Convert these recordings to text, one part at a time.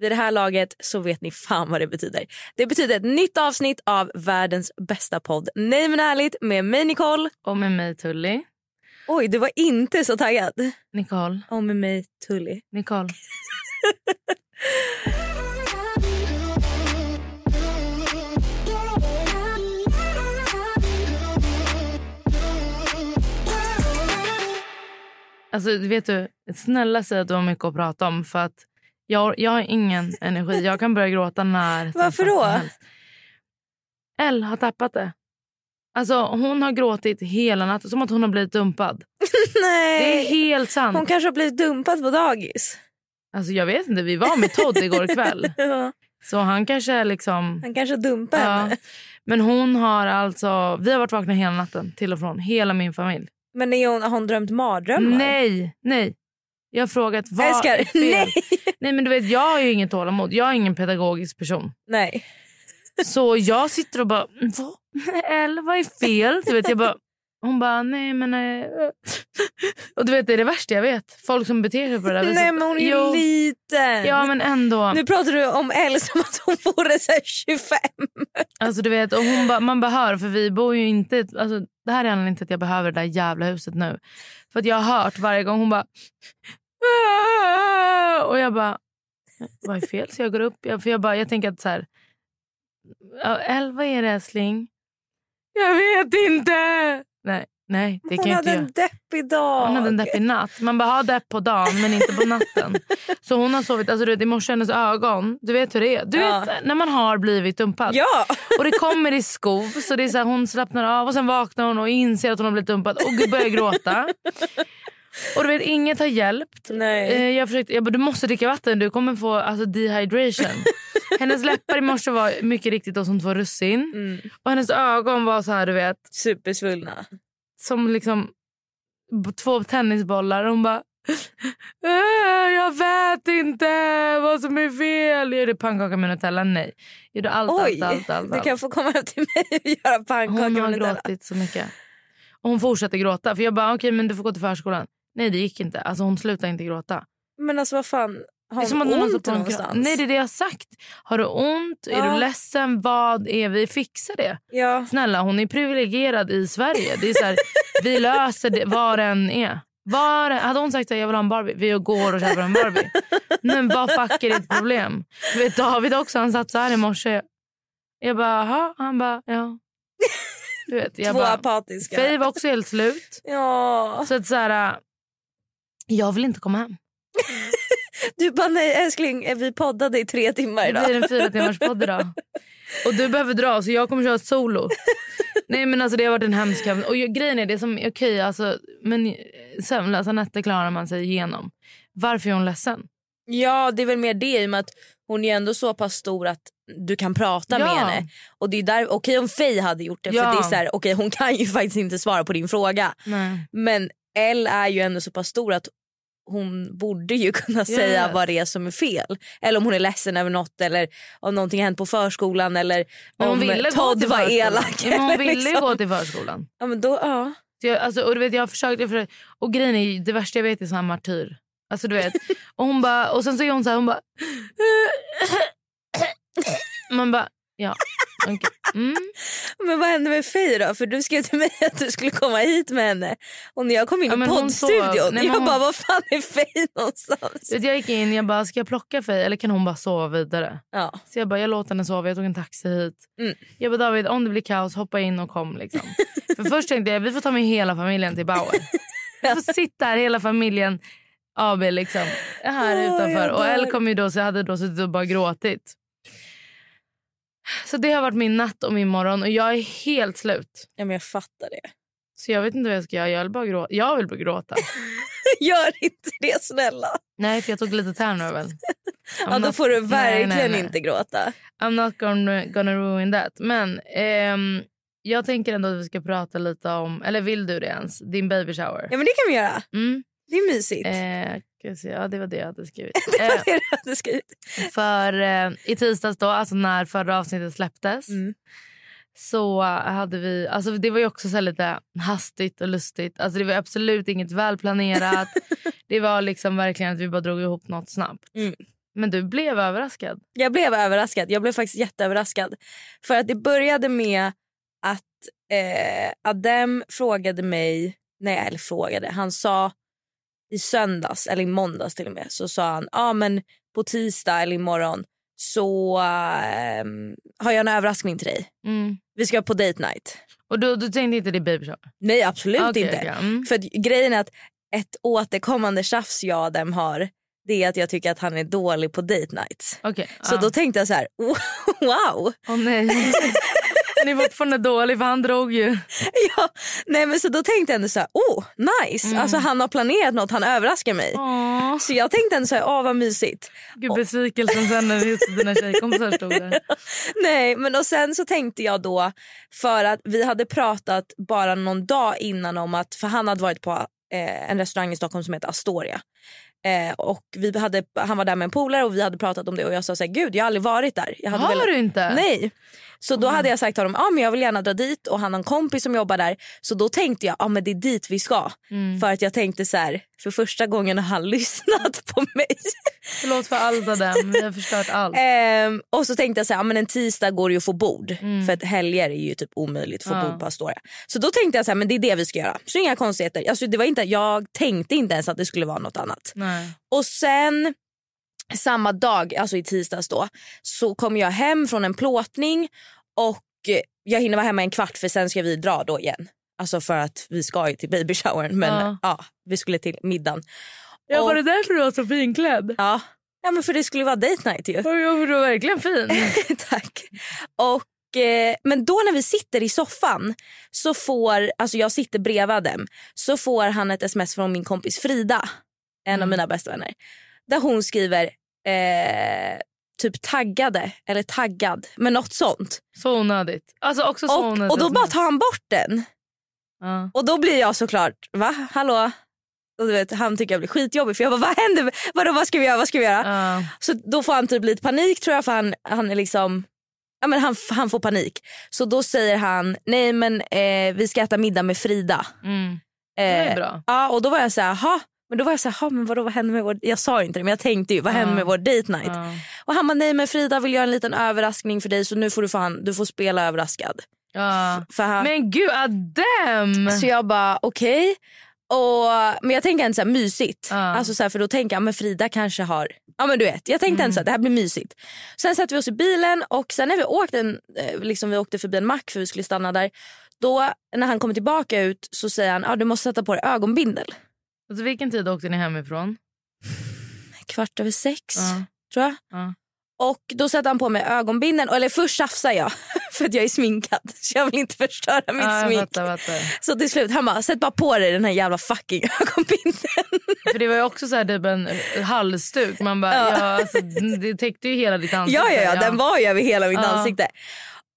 vid det här laget så vet ni fan vad det betyder. Det betyder ett nytt avsnitt av världens bästa podd. Nej men ärligt med mig Nicole. Och med mig Tully. Oj du var inte så taggad. Nicole. Och med mig Tully. Nicole. Alltså vet du, snälla säg att du har mycket att prata om för att jag, jag har ingen energi. Jag kan börja gråta när som Varför då? som helst. Elle har tappat det. Alltså hon har gråtit hela natten som att hon har blivit dumpad. Det är Nej. helt sant. Hon kanske har blivit dumpad på dagis. Alltså jag vet inte, vi var med Todd igår kväll. Ja, Så han kanske är liksom... Han kanske dumpar Ja. henne. Men hon har alltså... Vi har varit vakna hela natten till och från. Hela min familj. Men är hon, har hon drömt mardrömmar? Nej, nej. Jag har frågat vad Älskar. är fel? Nej. nej men du vet jag har ju inget tålamod. Jag är ingen pedagogisk person. Nej. Så jag sitter och bara, "Mm, vad? Eller vad är fel? Du vet, jag bara, hon bara, nej men... eh, eh." Och du vet det är det värsta jag vet. Folk som beter sig på det där Nej men hon är ju liten. Ja men ändå. Nu pratar du om Elle som att hon vore så här 25. Alltså du vet, och hon ba, man behöver, för vi bor ju inte... Alltså, det här är anledningen till att jag behöver det där jävla huset nu. För att jag har hört varje gång hon bara... "Aah!" Och jag bara... Vad är fel? Så jag går upp. Jag, för jag, bara, jag tänker att så här... "Ja, Elle, vad är det älskling? Jag vet inte! Nej, nej det kan Hon jag hade inte göra. en deppig dag. Hon hade en deppig natt. Man bara har depp på dagen men inte på natten. Så hon har sovit, alltså du vet i morse hennes ögon, du vet hur det är. Du Ja. vet när man har blivit dumpad. Ja. Och det kommer i skov så det är så här, hon slappnar av och sen vaknar hon och inser att hon har blivit dumpad och börjar gråta. Och du vet inget har hjälpt. Eh, Nej. Jag, försökte, jag bara du måste dricka vatten du kommer få alltså, dehydration. Hennes läppar i morse var mycket riktigt då som två russin. Mm. Och hennes ögon var så här du vet Supersvullna. som liksom b- två tennisbollar. Hon bara... "Äh, Jag vet inte vad som är fel. Jag gjorde pannkaka med Nutella. Nej. Jag gjorde allt, Oj, allt, allt. allt, du allt. kan få komma hem till mig och göra pannkakor. Hon med har Nutella. gråtit så mycket. Och hon fortsatte gråta. För Jag bara, okej men du får gå till förskolan. Nej det gick inte. Alltså hon slutade inte gråta. Men alltså vad fan, har Det är hon som att någon har satt ont på en kran- någonstans? Nej det är det jag har sagt. Har du ont? Är Ja. du ledsen? Vad är vi? Fixa det. Ja. Snälla, hon är privilegierad i Sverige. Det är så här, vi löser det var den är. Var, hade hon sagt att jag vill ha en Barbie, vi går och köper en Barbie. Men vad fuck är ditt problem? Du vet David också, han satt så här i morse. Jag bara, aha. Han bara, ja. Du vet, jag Två bara, apatiska. Faye var också helt slut. Ja. Så att så här, äh, jag vill inte komma hem. Du bara nej älskling vi poddade i tre timmar Det idag. blir en fyra timmars podd idag. Och du behöver dra så jag kommer köra ett solo. Nej men alltså det har varit en hemsk hem- Och ju- grejen är det som, okej alltså men eh, sömnlösa nätter klarar man sig igenom. Varför är hon ledsen? Ja det är väl mer det i och med att hon är ändå så pass stor att du kan prata Ja. med henne. Och det är där, okej om Faye hade gjort det Ja. för det är så här, okej, hon kan ju faktiskt inte svara på din fråga. Nej. Men Elle är ju ändå så pass stor att hon borde ju kunna säga vad det är som är fel. Eller om hon är ledsen över något eller om någonting har hänt på förskolan eller Men hon om ville gå Todd till var förskolan. elak. Ja, men hon eller ville ju liksom. gå till förskolan. ja, men då, ja. Så jag, alltså, och du vet, jag har försökt, jag försökt, och grejen är ju- det värsta jag vet är sån här martyr. Alltså du vet. Och hon bara, och sen så är hon så här, hon bara... Man bara, ja. okej. Mm. Men vad hände med Faye då? För du skrev till mig att du skulle komma hit med henne. Och när jag kom in Ja, i men hon sov. poddstudion, Nej, men jag hon- bara, vad fan är Faye någonstans? Du vet, Jag gick in jag bara, ska jag plocka Faye eller kan hon bara sova vidare? Ja. Så jag bara, jag låter henne sova. Jag tog en taxi hit. Mm. Jag bara, David, om det blir kaos, hoppa in och kom. Liksom. För först tänkte jag, vi får ta med hela familjen till Bauer. Vi får sitta här, hela familjen AB, liksom, här Åh, utanför. jag Och dör. Elle kom ju då, så jag hade då suttit och bara gråtit. Så det har varit min natt och min morgon och jag är helt slut. ja, men jag fattar det. Så jag vet inte vad jag ska göra. Jag vill bara grå- jag vill bara gråta. Gör inte det snälla. Nej, för jag tog lite Ternovel. Ja, då får du verkligen nej, nej. inte gråta. I'm not gonna, gonna ruin that. Men ehm, jag tänker ändå att vi ska prata lite om, eller vill du det ens? Din baby shower. Ja men det kan vi göra. Mm. Det är mysigt. Eh, ska vi se. ja, det var det jag hade skrivit. det var Eh, det du hade skrivit. för eh, i tisdags då, alltså när förra avsnittet släpptes. Mm. Så hade vi, alltså det var ju också så här lite hastigt och lustigt. Alltså det var absolut inget välplanerat. det var liksom verkligen att vi bara drog ihop något snabbt. Mm. Men du blev överraskad. Jag blev överraskad. Jag blev faktiskt jätteöverraskad. För att det började med att eh, Adem frågade mig, nej eller frågade, han sa i söndags eller i måndags till och med så sa han, ja ah, men på tisdag eller imorgon så ehm, har jag en överraskning till dig. Mm. Vi ska på date night. Och du, du tänkte inte det är baby shower? Nej absolut Okej, inte. okej, mm. För att grejen är att ett återkommande tjafs jag och Adam har det är att jag tycker att han är dålig på date nights. Okej, Så ja. då tänkte jag så här, wow! Åh nej. Han är fortfarande dålig för han drog ju. Ja, nej men så då tänkte jag ändå så här, oh nice! Alltså han har planerat något, han överraskar mig. Åh, Så jag tänkte ändå så här, åh vad mysigt. gud besvikelsen sen när just dina tjejkompisar stod där. Nej men och sen så tänkte jag då, för att vi hade pratat bara någon dag innan om att, för han hade varit på eh, en restaurang i Stockholm som heter Astoria. Eh, och vi hade, han var där med en polare och vi hade pratat om det och jag sa så här, gud jag har aldrig varit där. Jag hade Har velat- du inte? Nej. Så då hade jag sagt till honom ah, men jag vill gärna dra dit och han har en kompis som jobbar där. Så då tänkte jag ah, men det är dit vi ska. Mm. För att jag tänkte så här, för första gången har han lyssnat på mig. Förlåt för allt av dem. Vi har förstört allt. Ehm, och så tänkte jag så här, ah, men en tisdag går det ju att få bord. Mm. För att helger är ju typ omöjligt att få Ja. bord på Astoria. Så då tänkte jag så här, men det är det vi ska göra. Så inga konstigheter. Alltså, det var inte, jag tänkte inte ens att det skulle vara något annat. Nej. Och sen samma dag, alltså i tisdags då, så kom jag hem från en plåtning och eh, jag hinner vara hemma en kvart för sen ska vi dra då igen. Alltså för att vi ska ju till babyshowern men ja. Ja. vi skulle till middagen. Ja, Och- var det därför du var så finklädd? Ja. ja men för det skulle vara date night ju. Oj, oj, du var verkligen fin. Tack. Och, eh, men då när vi sitter i soffan, så får, alltså jag sitter bredvid dem, så får han ett sms från min kompis Frida, en av Mm. mina bästa vänner. Där hon skriver eh, typ taggade eller taggad, men något sånt. Så onödigt. Alltså också så onödigt. Och, och då bara tar han bort den. ja. Och då blir jag såklart, va? Hallå? Och du vet, han tycker jag blir skitjobbig för jag bara vad händer? Vadå, vad ska vi göra? Vad ska vi göra? Ja. Så då får han typ lite panik tror jag för han, han är liksom Ja, men han, han får panik. Så då säger han nej men eh, vi ska äta middag med Frida. Mm. Eh, Det är bra. Ja, och då var jag så här, "Jaha." men då var jag så här, "Jaha, men vadå, vad händer med vår... Jag sa ju inte det men jag tänkte ju vad Ja. händer med vår date night? Ja. Och han bara nej men Frida vill göra en liten överraskning för dig så nu får du fan, du får spela överraskad. Ja. För han, Men gud, Adam! Så Alltså, jag bara okej. och Men jag tänker inte så här mysigt. Ja. Alltså så här, för då tänker jag men Frida kanske har... Ja men du vet, jag tänkte Mm. inte så här, det här blir mysigt. Sen sätter vi oss i bilen och sen när vi åkte, en, eh, liksom vi åkte förbi en mack för vi skulle stanna där. Då när han kommer tillbaka ut så säger han ah, du måste sätta på dig ögonbindel. Alltså, vilken tid åkte ni hemifrån? Kvart över sex Ja. tror jag. Ja. Och då sätter han på mig ögonbindeln. Eller först tjafsar jag för att jag är sminkad. Så jag vill inte förstöra mitt Ja, jag smink. fattar, fattar. Så till slut han bara sätt bara på dig den här jävla fucking ögonbindeln. För det var ju också så här typ en halsduk. Man bara, Ja. ja. alltså, det täckte ju hela ditt ansikte. Ja, ja, ja, den var ju över hela mitt Ja. ansikte.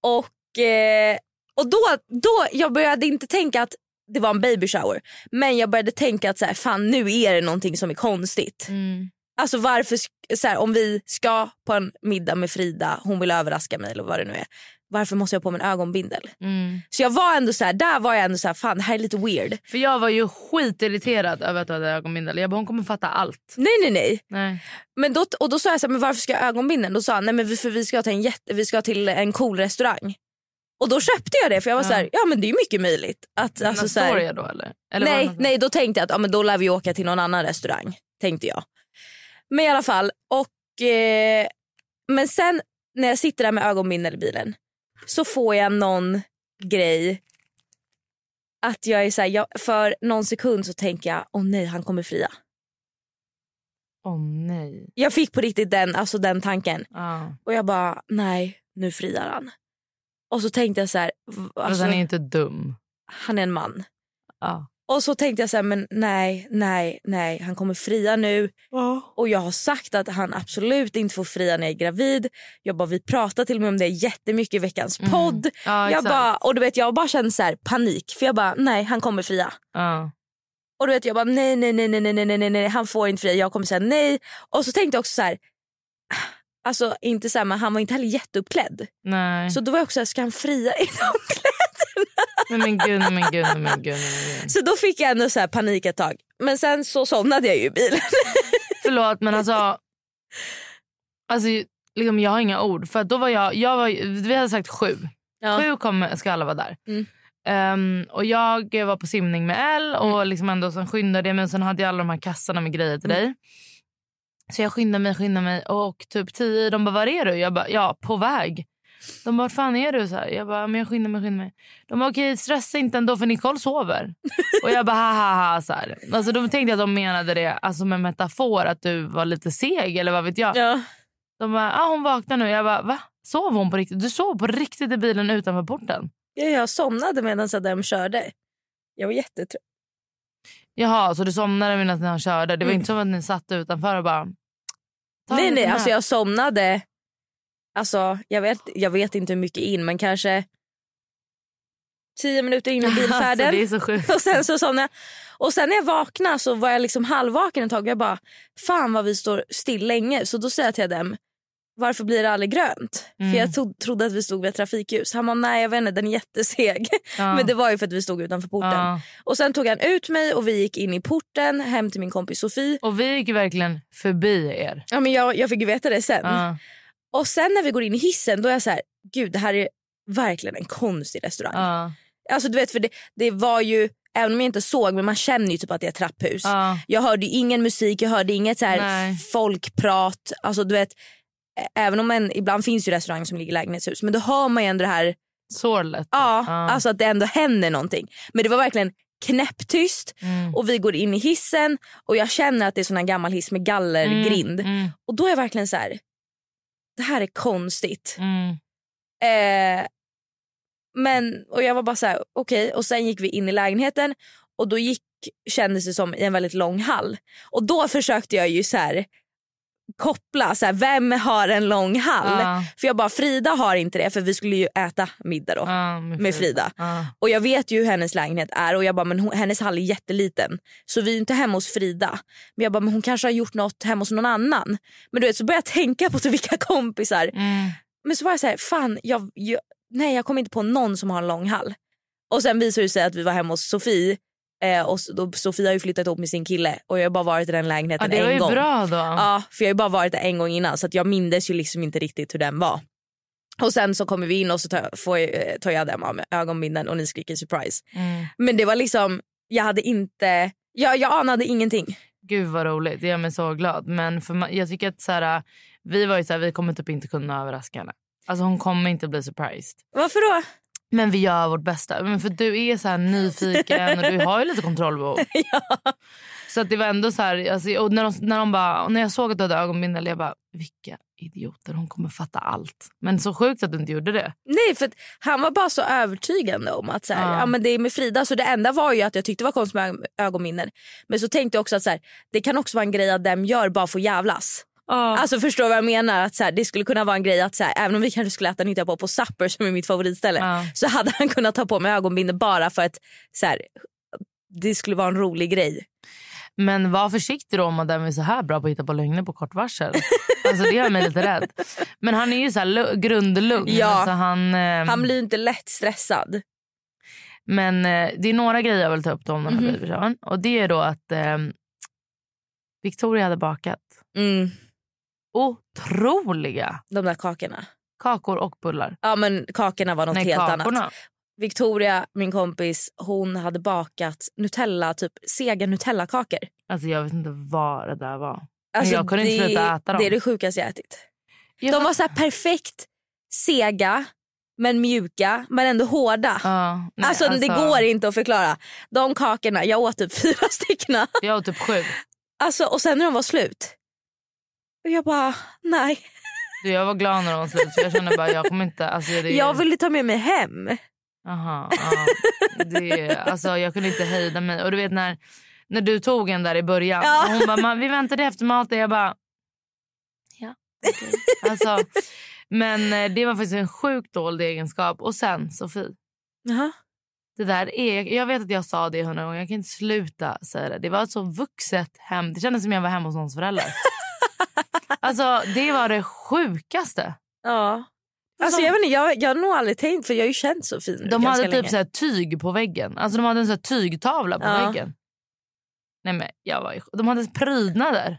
Och, eh, och då, då jag började inte tänka att det var en baby shower. Men jag började tänka att så här, fan nu är det någonting som är konstigt. Mm. Alltså varför, sk- så här, om vi ska på en middag med Frida, hon vill överraska mig eller vad det nu är. Varför måste jag ha på mig en ögonbindel? Mm. Så jag var ändå så här, där var jag ändå så här, fan det här är lite weird. För jag var ju skitirriterad över att du hade ögonbindel. Jag bara, hon kommer fatta allt. Nej nej nej. Nej. Men då, och då sa jag så här, men varför ska jag ha ögonbindeln? Då sa han, nej men vi- för vi ska till en, jätte, vi ska till en cool restaurang. Och då köpte jag det för jag var Ja. så här, ja men det är mycket möjligt. Att, Alltså, alltså, så här, Astoria då eller? eller var nej, det något- nej, då tänkte jag att ja, men då lär vi åka till någon annan restaurang. Tänkte jag. Men i alla fall. Och, eh, men sen när jag sitter där med ögonbindel i bilen så får jag någon grej. Att jag är så här, jag, för någon sekund så tänker jag, åh nej han kommer fria. Åh nej. Jag fick på riktigt den, alltså den tanken. Ja. Och jag bara, nej nu friar han. Och så tänkte jag så här, v- Fast alltså, han är inte dum. han är en man. Ja. Och så tänkte jag så här, men nej, nej, nej, han kommer fria nu. Och jag har sagt att han absolut inte får fria när jag är gravid. Jag bara, vi pratar till och med om det jättemycket i veckans Mm. podd. Ja, jag exakt. bara, och du vet, jag bara kände så här, panik, för jag bara, nej, han kommer fria. Ja. Och du vet, jag bara, nej, nej, nej, nej, nej, nej, nej, nej, nej, han får inte fria, jag kommer säga nej. Och så tänkte jag också så här, alltså inte så här, men han var inte heller jätteuppklädd. Nej. Så då var jag också så här, ska han fria inom Nej, men gud, nej, men gud, nej, men gud. Nej, men gud. Så då fick jag ändå så här panik ett tag. Men sen så somnade jag ju i bilen. Förlåt men alltså. Alltså liksom, jag har inga ord. För att då var jag, jag var, vi hade sagt sju. Sju kommer, ska alla vara där. Mm. Ehm, och jag var på simning med Elle och liksom ändå sen skyndade jag mig. Sen hade jag alla de här kassarna med grejer till dig. Så jag skyndade mig, skyndade mig och typ tio i, de bara var är du? Jag bara ja, på väg. De bara vart fan är du? Så här. Jag bara men jag skyndar mig, skyndar mig. De bara okej stressa inte ändå för Nicole sover. och jag bara ha ha ha. Så här. Alltså de tänkte att de menade det alltså med metafor att du var lite seg eller vad vet jag. Ja. De bara ah, hon vaknar nu. Jag bara va? Sov hon på riktigt? Du sov på riktigt i bilen utanför porten? Ja, jag somnade medan Adam körde. Jag var jättetrött. Jaha, så du somnade medan han körde? Det var Mm. inte som att ni satt utanför och bara... "Ta Nej, en nej, liten alltså nap." jag somnade. Alltså, jag vet, jag vet inte hur mycket in, men kanske tio minuter in i bilfärden. Alltså, det är så sjukt. Och sen så somnade jag. Och sen när jag vaknade så var jag liksom halvvaken ett tag. Jag bara, fan vad vi står still länge. Så då säger jag till dem, varför blir det aldrig grönt? Mm. För jag tro- trodde att vi stod vid ett trafikljus. Han bara, nej jag vet inte, den är jätteseg. Ja. Men det var ju för att vi stod utanför porten. Ja. Och sen tog han ut mig och vi gick in i porten hem till min kompis Sofie. Och vi gick ju verkligen förbi er. Ja, men jag, jag fick ju veta det sen. Ja. Och sen när vi går in i hissen då är jag så här, gud det här är verkligen en konstig restaurang. Ja. Alltså du vet för det, det var ju, även om jag inte såg men man känner ju typ att det är ett trapphus. Ja. Jag hörde ju ingen musik, jag hörde inget så här Nej. folkprat. Alltså du vet, ä- även om en, ibland finns ju restauranger som ligger i lägenhetshus men då hör man ju ändå det här, Sorlet. ja, Ja. alltså att det ändå händer någonting. Men det var verkligen knäpptyst Mm. och vi går in i hissen och jag känner att det är sån här gammal hiss med gallergrind. Mm. Mm. Och då är jag verkligen så här, det här är konstigt. Mm. Eh, men, och jag var bara så här, okej. Och sen gick vi in i lägenheten och då gick, kändes det som i en väldigt lång hall. Och då försökte jag ju så här koppla, så här, vem har en lång hall? Ja. För jag bara, Frida har inte det för vi skulle ju äta middag då. Ja, med Med Frida. Ja. Och jag vet ju hur hennes lägenhet är och jag bara men hon, hennes hall är jätteliten. Så vi är ju inte hemma hos Frida. Men jag bara men hon kanske har gjort något hemma hos någon annan. Men du vet så började jag tänka på så vilka kompisar. Mm. Men så var jag så här, fan jag, jag, nej jag kommer inte på någon som har en lång hall. Och sen visade det sig att vi var hemma hos Sofie. Eh, och s- då, Sofie har ju flyttat ihop med sin kille och jag har bara varit i den Ja, lägenheten det var en ju gång. bra då. Ja, för jag har ju bara varit där en gång innan så att jag mindes ju liksom inte riktigt hur den var. Och sen så kommer vi in och så tar, får, jag- eh, tar jag den av mig ögonbindeln och ni skriker surprise. Mm. Men det var liksom, jag hade inte, jag, jag anade ingenting. Gud vad roligt, det gör mig så glad. Men för ma- jag tycker att så här, vi var ju så här, vi kommer typ inte kunna överraska henne. Alltså hon kommer inte bli surprised. Varför då? Men vi gör vårt bästa. Men för Du är så här nyfiken och du har ju lite kontrollbehov. Så att det var ändå så här... Alltså, och när, de, när, de bara, och när jag såg att du hade ögonbindel, jag bara... Vilka idioter, hon kommer fatta allt. Men så sjukt att du inte gjorde det. Nej för att han var bara så övertygande om att så här, Ja. ja. men det är med Frida. Så det enda var ju att jag tyckte det var konstigt med ög- ögonminnen. Men så tänkte jag också att så här, det kan också vara en grej att dem gör bara för att jävlas. Alltså förstår du vad jag menar? Att så här, det skulle kunna vara en grej att så här, även om vi kanske skulle äta nytta på på Supper som är mitt favoritställe. Ja. Så hade han kunnat ta på mig ögonbindel bara för att så här, det skulle vara en rolig grej. Men var försiktig då om Adam är så här bra på att hitta på lögner på kort varsel. Alltså det gör mig lite rädd. Men han är ju så här lu- grundlugn. Ja. Alltså, han, eh, Han blir ju inte lätt stressad. Men eh, det är några grejer jag vill ta upp då om den här Mhm. babyshowen. Och det är då att eh, Victoria hade bakat Mm, otroliga de där kakorna. Kakor och bullar. Ja men kakorna var något Nej, helt kakorna. annat. Victoria, min kompis, hon hade bakat Nutella, typ sega Nutella-kakor. Alltså jag vet inte vad det där var. Alltså, jag kunde inte det- sluta äta dem. Det är det sjukaste jag ätit. Jag De var så här perfekt sega men mjuka men ändå hårda. Ja, nej, alltså, det går inte att förklara. De kakorna, jag åt typ fyra stycken. Jag åt typ sju. Alltså, och sen när de var slut. Och jag bara, nej. Du, jag var glad när de var slut för jag kände bara jag kommer inte... Alltså, det är, Jag ville ta med mig hem. Aha, ja. det är, alltså, jag kunde inte hejda mig. Och du vet när, när du tog en där i början. Ja. Och hon bara "Man, vi väntade efter maten. Jag bara ja okej. alltså, Men eh, det var faktiskt en sjukt dålig egenskap. Och sen Sofie. Jaha. Det där är, jag vet att jag sa det hundra gånger, jag kan inte sluta säga det. Det var ett så vuxet hem. Det kändes som jag var hemma hos någons föräldrar. alltså, det var det sjukaste. Ja. Alltså, jag, vet inte, jag, jag har nog aldrig tänkt för jag har ju känt så fin De ganska hade typ länge. så här tyg på väggen. Alltså de hade en så här tygtavla på Ja. väggen. Nej men jag var ju... De hade prydnader.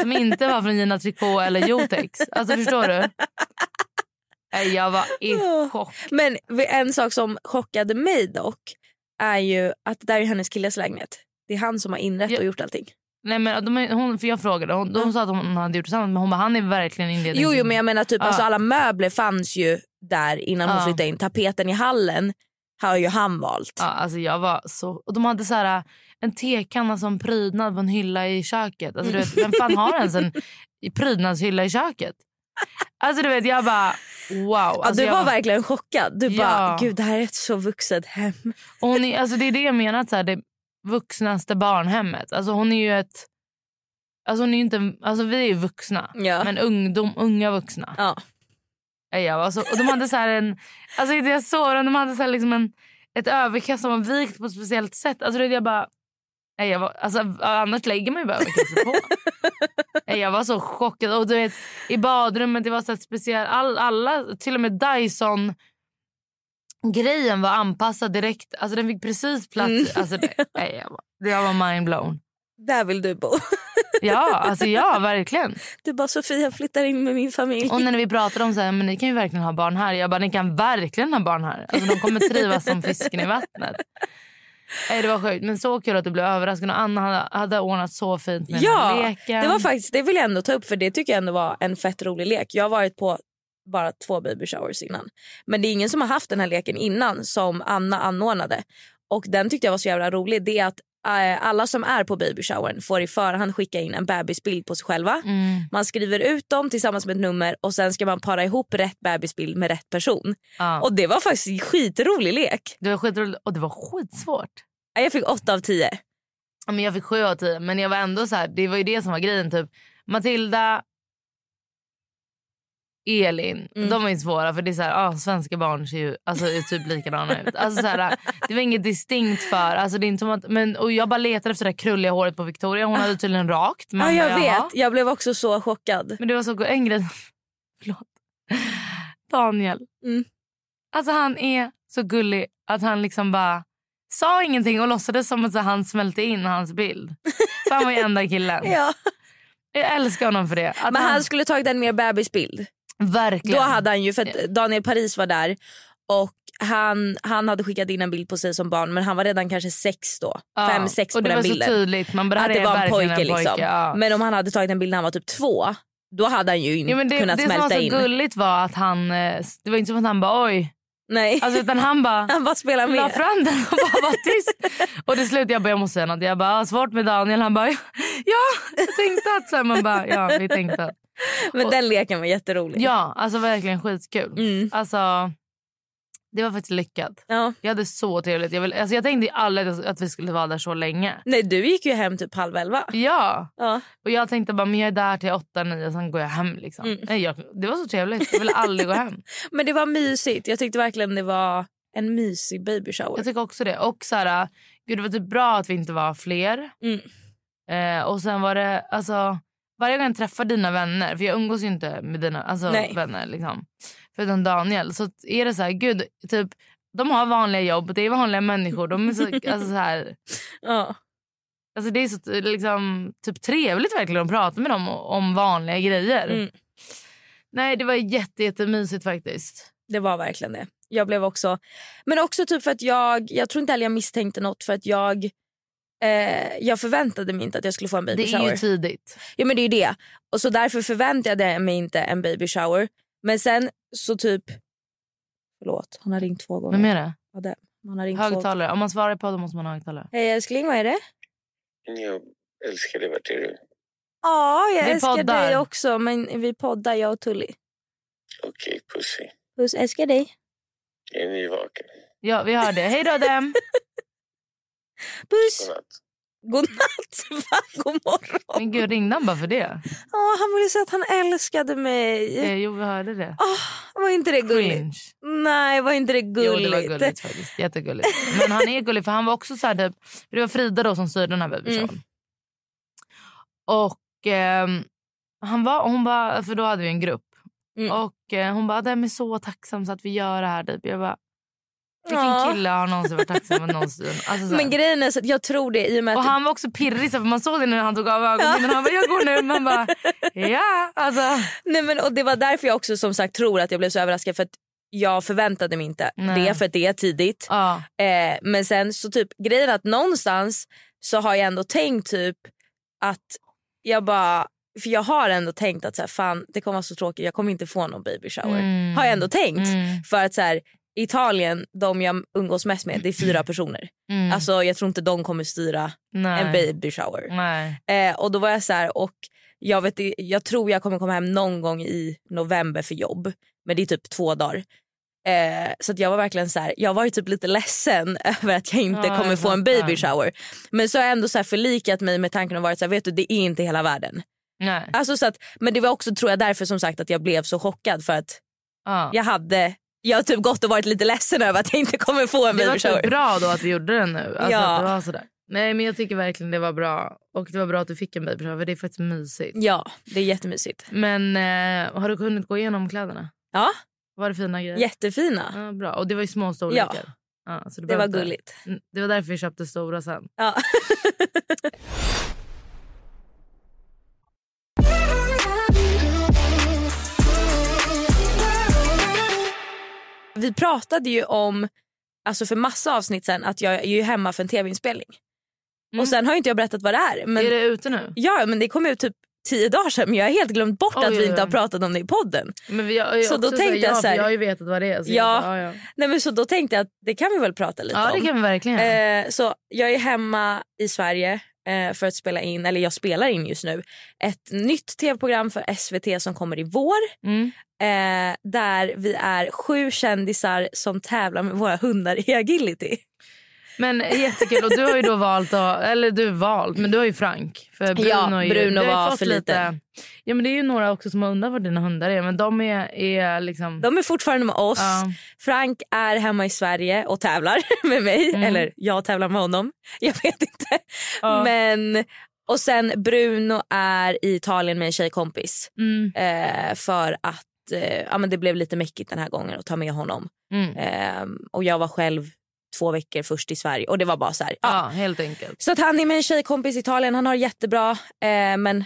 som inte var från Gina Tricot eller Jotex. Alltså förstår du? Nej, jag var i Ja. chock. Men en sak som chockade mig dock är ju att det där är hennes killes lägenhet. Det är han som har inrett Ja. och gjort allting. Nej, men de, hon, för jag frågade, hon, de sa att hon hade gjort det tillsammans men hon bara, han är verkligen inlednings... Jo, jo men jag menar typ Ja. alltså, alla möbler fanns ju där innan Ja. hon flyttade in. Tapeten i hallen har ju han valt. Ja, alltså jag var så... Och de hade så här, äh, en tekanna som prydnad på en hylla i köket. Alltså, du vet, vem fan har ens en prydnadshylla i köket? Alltså du vet, jag bara wow. Ja, Alltså, du jag var verkligen chockad. Du Ja. bara, gud det här är ett så vuxet hem. och hon är, alltså, det är det jag menar, att så här, det vuxnaste barnhemmet. Alltså hon är ju ett... Alltså, hon är ju inte, en- alltså vi är ju vuxna, Ja. men ungdom, unga vuxna. Ja. Ja, Jag var så, och de hade så här en, alltså det jag såg dem, de hade så här liksom en, ett överkast som var vikt på ett speciellt sätt. Alltså det jag bara, nej, jag var, alltså, annars lägger man ju bara överkastet på. Nej, jag var så chockad. Och du vet, i badrummet, det var så här speciellt, all, alla, till och med Dyson grejen var anpassad direkt. Alltså den fick precis plats. i- Mm. Alltså, nej, nej, jag, var, jag var mindblown. Där vill du bo. Ja, alltså ja, verkligen. Du bara, Sofia flyttar in med min familj. Och när vi pratade om så här, men ni kan ju verkligen ha barn här. Jag bara, ni kan verkligen ha barn här. Alltså, de kommer trivas som fisken i vattnet. Nej, det var sjukt. Men så kul att du blev överraskad. Och Anna hade, hade ordnat så fint med den här ja, leken. det var faktiskt, det vill jag ändå ta upp för det tycker jag ändå var en fett rolig lek. Jag har varit på bara två baby showers innan. Men det är ingen som har haft den här leken innan som Anna anordnade. Och den tyckte jag var så jävla rolig. Det är att eh, alla som är på baby showern får i förhand skicka in en bebisbild på sig själva. Mm, Man skriver ut dem tillsammans med ett nummer och sen ska man para ihop rätt bebisbild med rätt person. ja. Och det var faktiskt en skitrolig lek. det var skitroligt och det var skitsvårt. Jag fick åtta av tio. Mm, Ja, Men jag fick sju av tio. Men jag var ändå så här, det var ju det som var grejen. Typ. Matilda, Elin, Mm. de är ju svåra. För det är så här, ah, svenska barn ser ju alltså, är typ likadana ut. Alltså, så här, det var inget distinkt för. Alltså, det är inte som att, men, och jag bara letade efter det där krulliga håret på Victoria. Hon hade tydligen rakt. men Ja, bara, jag jaha. vet. Jag blev också så chockad. Men det var så go- en grej. Förlåt. Daniel. Mm. Alltså han är så gullig att han liksom bara sa ingenting och låtsades som att så han smälte in hans bild. För han var ju enda killen. Ja. Jag älskar honom för det. Att Men han skulle tagit en mer bebisbild. Då Verkligen. hade han ju, för att Daniel Paris var där och han, han hade skickat in en bild på sig som barn men han var redan kanske sex då. Ja. Fem, sex på och det var den bilden. så tydligt. Man bara, att här det är var en verkligen pojke, liksom. ja. Men om han hade tagit en bild när han var typ två då hade han ju inte Ja, men det, kunnat det som var smälta så in. gulligt var att han, eh, s- det var inte som att han bara oj. Nej. Alltså, utan han bara han bara spelar la med. fram den och bara var tyst. Och till slut jag bara, jag måste säga något. Jag bara, ah, svårt med Daniel. Han bara, ja, jag tänkte att. Så här, man bara, ja, vi tänkte att. Men och- den leken var jätterolig. Ja, alltså verkligen skitkul. Mm. Alltså, det var faktiskt lyckat. Ja. Jag hade så trevligt. Jag, vill, alltså, jag tänkte aldrig att vi skulle vara där så länge. Nej, du gick ju hem typ halv elva. Ja, Ja. och jag tänkte bara, men jag är där till åtta, nio, sen går jag hem liksom. Mm. Nej, jag, det var så trevligt. Jag ville aldrig gå hem. Men det var mysigt. Jag tyckte verkligen det var en mysig baby shower. Jag tycker också det. Och så här, gud, det var typ bra att vi inte var fler. Mm. Eh, och sen var det, alltså, varje gång jag träffar dina vänner, för jag umgås ju inte med dina alltså, Nej. vänner, liksom, förutom Daniel, så är det så här, gud, typ, de har vanliga jobb, det är vanliga människor. De är så, alltså, så här, Ja. alltså, det är så liksom, typ, trevligt verkligen att prata med dem o- om vanliga grejer. Mm. Nej, det var jätte, jättemysigt faktiskt. Det var verkligen det. Jag blev också... Men också typ för att jag... Jag tror inte heller jag misstänkte något för att jag... Eh, jag förväntade mig inte att jag skulle få en baby Det är shower. ju typ- tidigt. Ja men det är ju det. Och så därför förväntade jag mig inte en baby shower. Men sen så typ... Förlåt, han har ringt två gånger. Vem är det? Ja, det. Han har ringt två... Högtalare. Om man svarar på det måste man ha högtalare. Hej älskling, vad är det? Jag älskar dig, Martin. Ja, jag Vi älskar poddar. dig också men vi poddar jag och Tully. Okej, pussy. Puss, älskar dig. Jag är nyvaken. Ja, vi hör det. Hej då dem! Puss! Godnatt. Godnatt! Va? God morgon! Men gud, ringde han bara för det? Åh, han ville säga att han älskade mig. Eh, jo, vi hörde det. Åh, var inte det gulligt? Cringe. Nej, var inte det Jo, gulligt? det var gulligt faktiskt. Jättegulligt. Men han är gullig för han var också så här typ, det var Frida då som styrde den här babyshowen. Mm. Och ehm, han var, hon bara, för då hade vi en grupp. Mm. Och eh, hon bara, den är så tacksam så att vi gör det här typ. Jag bara, vilken Ja. kille har någonsin varit tacksam för någonsin? Alltså, så här. Men grejen är så att jag tror det i och med och att... han var också pirrig, så här, för man såg det när han tog av ögonen. Han bara, jag går nu. Man bara, ja. Alltså, Nej, men, och det var därför jag också som sagt tror att jag blev så överraskad. För att jag förväntade mig inte Nej. det för att det är tidigt. ja. Eh, men sen så typ grejen är att någonstans så har jag ändå tänkt typ att jag bara... För jag har ändå tänkt att så här, fan det kommer vara så tråkigt, jag kommer inte få någon baby shower. Mm. Har jag ändå tänkt. Mm. För att så här, Italien, de jag umgås mest med, det är fyra personer. Mm. Alltså jag tror inte de kommer styra Nej. en baby shower. Nej. Eh, och då var jag så här, och jag, vet, i- jag tror jag kommer komma hem någon gång i november för jobb. Men det är typ två dagar. Eh, så att jag var verkligen så här, jag var ju typ lite ledsen över att jag inte Ja, kommer jag få en fattar. baby shower. Men så har jag ändå så här förlikat mig med tanken och varit så här, vet du det är inte hela världen. Nej. Alltså så att, men det var också tror jag därför som sagt att jag blev så chockad för att Ja. jag hade jag har typ gått och varit lite ledsen över att jag inte kommer få en Det baby var shower. typ bra då att vi gjorde det nu. Alltså Ja. att det var sådär. Nej men jag tycker verkligen det var bra. Och det var bra att du fick en baby shower, för det är faktiskt mysigt. Ja, det är jättemysigt. Men eh, har du hunnit gå igenom kläderna? Ja, Var det fina grejer? jättefina. Ja, bra. Och det var ju små storlekar. Ja. så du Det var behövde- gulligt. Mm, Det var därför vi köpte stora sen. Ja. Vi pratade ju om, alltså för massa avsnitt sen, att jag är ju hemma för en tv-inspelning. Mm. Och sen har ju inte jag berättat vad det är. Men, Är det ute nu? Ja, men det kom ut typ tio dagar sedan men jag har helt glömt bort Oj, att vi oj, inte har oj. pratat om det i podden. Men vi, jag, jag, Så då också tänkte jag ja, så här- för Jag har ju vetat vad det är. Så Ja. jag, bara, ja, ja. Nej men så då tänkte jag att det kan vi väl prata lite ja om. det kan vi verkligen. Eh, så jag är hemma i Sverige eh, för att spela in, eller jag spelar in just nu, ett nytt tv-program för SVT som kommer i vår. Mm. Eh, där vi är sju kändisar som tävlar med våra hundar i agility. Men jättekul. Och du har ju då valt, att, eller du valt, men du har ju Frank. För Bruno, Ja, är ju, Bruno du har ju var fått för liten. Ja, men det är ju några också som har undrat var dina hundar är. Men de är, är liksom... De är fortfarande med oss. Ja. Frank är hemma i Sverige och tävlar med mig. Mm. Eller jag tävlar med honom. Jag vet inte. Ja. Men, och sen Bruno är i Italien med en tjejkompis. Mm, Eh, för att eh, ja, men det blev lite mäckigt den här gången att ta med honom. mm. Ehm, och jag var själv två veckor först i Sverige och det var bara så här. Ja. Ja, helt enkelt. Så att han är med en tjejkompis i Italien, han har det jättebra eh, men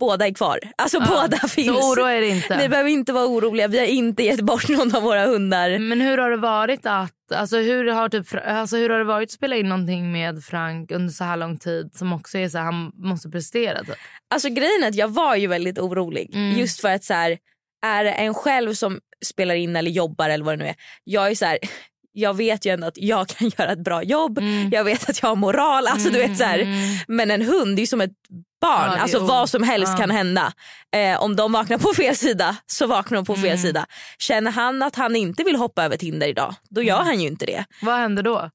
båda är kvar. Alltså Ja. båda finns. Så oroa er Ni inte. behöver inte vara oroliga, vi har inte gett bort någon av våra hundar. Men hur har det varit att alltså hur har, typ, Fra- alltså hur har det varit att spela in någonting med Frank under så här lång tid som också är så här, han måste prestera? Typ. Alltså grejen är att jag var ju väldigt orolig Mm. just för att så här, är det en själv som spelar in eller jobbar eller vad det nu är. Jag är så här, jag vet ju ändå att jag kan göra ett bra jobb, Mm. jag vet att jag har moral, alltså du vet så här. Mm. Men en hund det är ju som ett barn. Ja, det är alltså ung. Vad som helst Ja. kan hända. Eh, om de vaknar på fel sida så vaknar de på fel Mm. sida. Känner han att han inte vill hoppa över Tinder idag då Mm. gör han ju inte det. Vad händer då?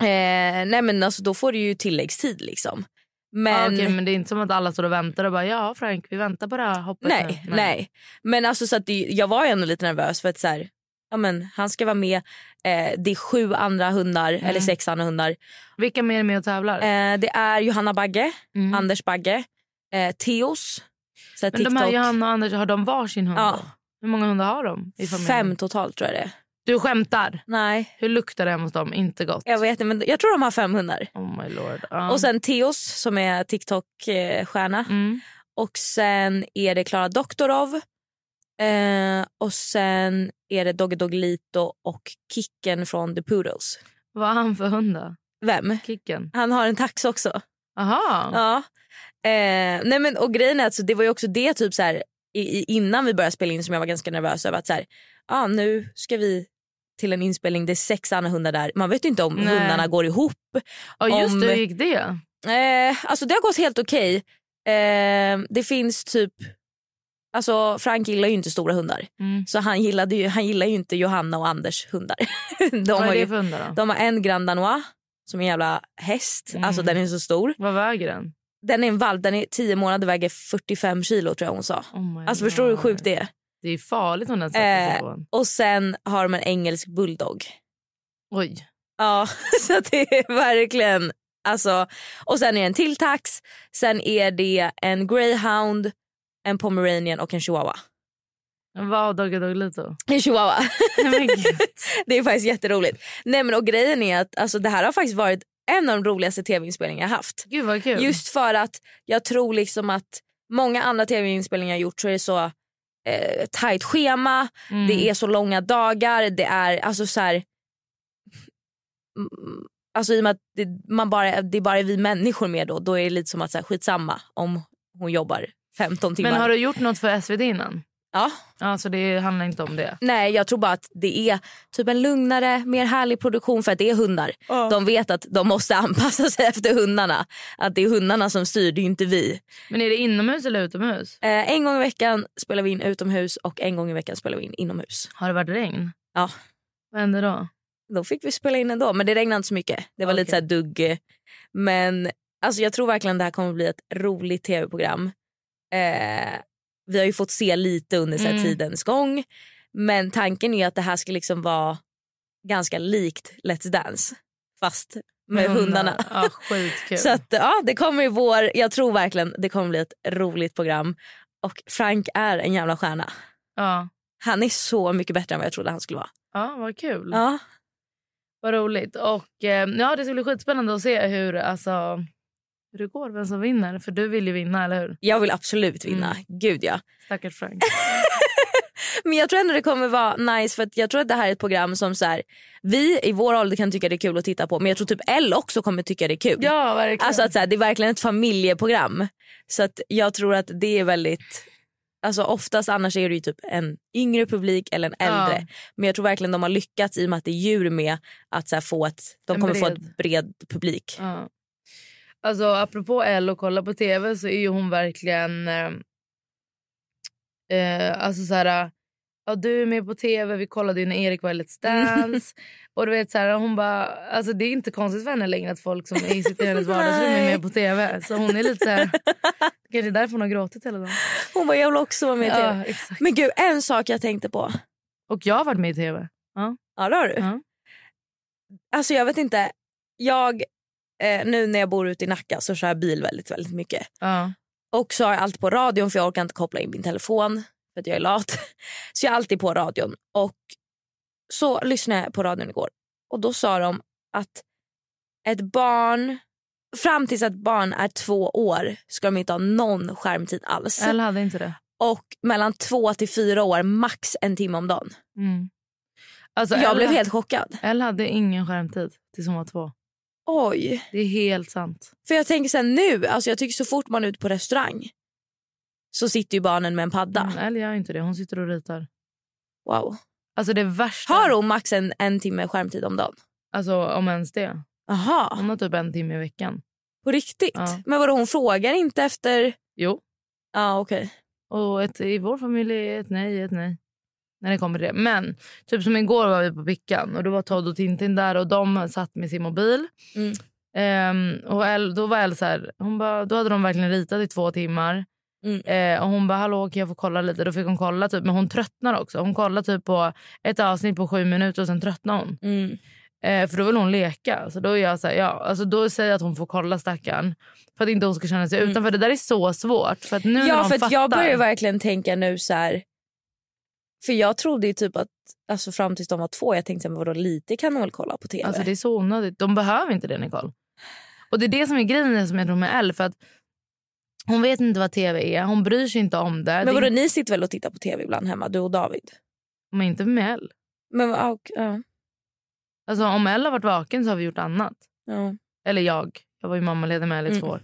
Eh, nej men alltså, Då får du ju tilläggstid liksom. Men, Men... Ah, Okej, men det är inte som att alla står och väntar och bara ja Frank vi väntar på det här hoppet nej, nu. nej. Men alltså, så att det, jag var ju ändå lite nervös för att så här, ja, men, han ska vara med. Eh, det är sju andra hundar, Mm. eller sex andra hundar. Vilka mer är med och tävlar? Eh, det är Johanna Bagge, Mm. Anders Bagge, eh, Theos. Så här, Men de här TikTok. Johanna och Anders, har de varsin hund? Ja. då? Hur många hundar har de i familjen? Fem totalt tror jag det är. Du skämtar? Nej, Hur luktar det hemma hos dem? Inte gott. jag vet inte men jag tror de har fem hundar. Oh my lord. Ja. Och sen Theos som är TikTok-stjärna. Mm. Och sen är det Klara Doktorov Eh, och sen är det Doggy Doggelito och Kicken från The Poodles. Vad har han för hund då? Vem? Kicken? Han har en tax också. Aha. Ja. Eh, nej men, och grejen är att så det var ju också det typ så här, i, i, innan vi började spela in som jag var ganska nervös över. att så här, ah, Nu ska vi till en inspelning, det är sex andra hundar där. Man vet ju inte om Nej. hundarna går ihop. Ja, just det, om- hur gick det? Eh, alltså det har gått helt okej. Eh, det finns typ... Alltså Frank gillar ju inte stora hundar. Mm. Så han, gillade ju, han gillar ju inte Johanna och Anders hundar. de, Vad har är det ju, för hundar då? de har en Grand Danois som är en jävla häst. Mm. Alltså den är så stor. Vad väger den? Den är en valp, den är 10 månader väger 45 kilo tror jag hon sa. Oh my Alltså förstår du hur God. sjukt det är? Det är farligt om den sätter sig Eh. på en. Och sen har de en engelsk bulldog. Oj. Ja, så att det är verkligen... Alltså, och sen är det en till tax, sen är det en greyhound, en pomeranian och en chihuahua. Vad Doggy Doggelito? En chihuahua. Nej, men gud. Det är faktiskt jätteroligt. Nej, men, och grejen är att alltså, det här har faktiskt varit en av de roligaste tv-inspelningar jag haft. gud vad kul. Just för att jag tror liksom att många andra tv-inspelningar jag gjort så är det så eh, tajt schema, Mm. det är så långa dagar, det är alltså så här... Mm, Alltså i och med att det, man bara, det är bara vi människor med då, då är det lite som att så här, skitsamma om hon jobbar 15 timmar. men har du gjort något för SVT innan? Ja. Alltså det handlar inte om det. Nej, jag tror bara att det är typ en lugnare, mer härlig produktion för att det är hundar. De vet att de måste anpassa sig efter hundarna. Att det är hundarna som styr, det är ju inte vi. Men är det inomhus eller utomhus? Eh, en gång i veckan spelar vi in utomhus och en gång i veckan spelar vi in inomhus. Har det varit regn? Ja. Vad hände då? Då fick vi spela in ändå, men det regnade inte så mycket. Det var lite så Okej. här dugg. Men alltså, jag tror verkligen det här kommer bli ett roligt tv-program. Eh, vi har ju fått se lite under så här, Mm. tidens gång. Men tanken är att det här ska liksom vara ganska likt Let's Dance. Fast med, hundarna. Ja, skitkul. Så att, ja, det kommer i vår. Jag tror verkligen det kommer bli ett roligt program. Och Frank är en jävla stjärna. ja. Han är så mycket bättre än vad jag trodde han skulle vara. ja, vad kul. Ja. Vad roligt. Och, eh, ja, det ska bli skitspännande att se hur, alltså, hur det går, vem som vinner. För du vill ju vinna, eller hur? Jag vill absolut vinna. Mm. Gud ja. Stackars Frank. Men jag tror ändå det kommer vara nice för att jag tror att det här är ett program som så här, vi i vår ålder kan tycka det är kul att titta på men jag tror typ L också kommer tycka det är kul. ja, verkligen. Alltså att så här, det är verkligen ett familjeprogram. Så att jag tror att det är väldigt, alltså oftast annars är det ju typ en yngre publik eller en Ja. äldre. Men jag tror verkligen de har lyckats i och med att det är djur med att så här, få ett, de En kommer få bred. ett bred publik. Ja. Alltså apropå Elle och kolla på tv så är ju hon verkligen... Eh, eh, alltså så här... Ja, du är med på tv, vi kollade ju när Erik var i Let's Mm. Dance. och du vet så här, hon bara... Alltså det är inte konstigt för henne längre att folk som är- sitter i hennes vardagsrum är Nej. med på tv. Så hon är lite så här... Kanske därför hon har gråtit hela dagen. Hon bara jag vill också vara med i tv. Ja, exakt. Men gud en sak jag tänkte på. Och jag har varit med i tv. Ja det har du. Ja. Alltså jag vet inte. Jag, eh, nu när jag bor ute i Nacka så kör jag bil väldigt väldigt mycket. Ja. Och så har jag allt på radion för jag orkar inte koppla in min telefon för att jag är lat. Så jag har alltid på radion. Och så lyssnade jag på radion igår och då sa de att ett barn, fram tills ett barn är två år ska de inte ha någon skärmtid alls. Elle hade inte det. Och mellan två till fyra år max en timme om dagen. Mm. Alltså, jag Elle- blev helt chockad. Elle hade ingen skärmtid tills hon var två. Oj. Det är helt sant. För jag tänker sen nu, alltså jag tycker så fort man är ute på restaurang så sitter ju barnen med en padda. Mm, eller gör inte det. Hon sitter och ritar. Wow. Alltså det värsta. Har hon max en, en timme skärmtid om dagen? Alltså om ens det. Aha, Hon har typ en timme i veckan. på riktigt? Ja. Men vadå, hon frågar inte efter... Jo. Ja, okej. Och ett, i vår familj är ett nej ett nej. När det kommer till det. Men typ som igår var vi på Pickan och då var Todd och Tintin där och de satt med sin mobil. Mm. Ehm, och El, då var El så här, hon bara, då hade de verkligen ritat i två timmar. Mm. Eh, och hon bara, hallå kan jag få kolla lite? Då fick hon kolla typ, men hon tröttnar också. Hon kollar typ på ett avsnitt på sju minuter och sen tröttnar hon. Mm. Eh, för då vill hon leka. Så då, är jag så här, ja, alltså då säger jag att hon får kolla stackarn. För att inte hon ska känna sig Mm. utanför. Det där är så svårt. För att nu när Ja, de för att jag fattar- börjar verkligen tänka nu så här... För jag trodde ju typ att alltså fram tills de var två, jag tänkte så här, men vadå lite kan de väl kolla på tv? Alltså det är så onödigt. De behöver inte det Nicole. Och det är det som är grejen som jag tror med Elle. För att Hon vet inte vad tv är, hon bryr sig inte om det. Men det vadå, är ni sitter väl och tittar på tv ibland hemma, du och David? men inte med Elle. Men, ja, och, ja, Alltså, om Elle har varit vaken så har vi gjort annat. ja. Eller jag. Jag var ju mammaledig med Elle i två Mm. år.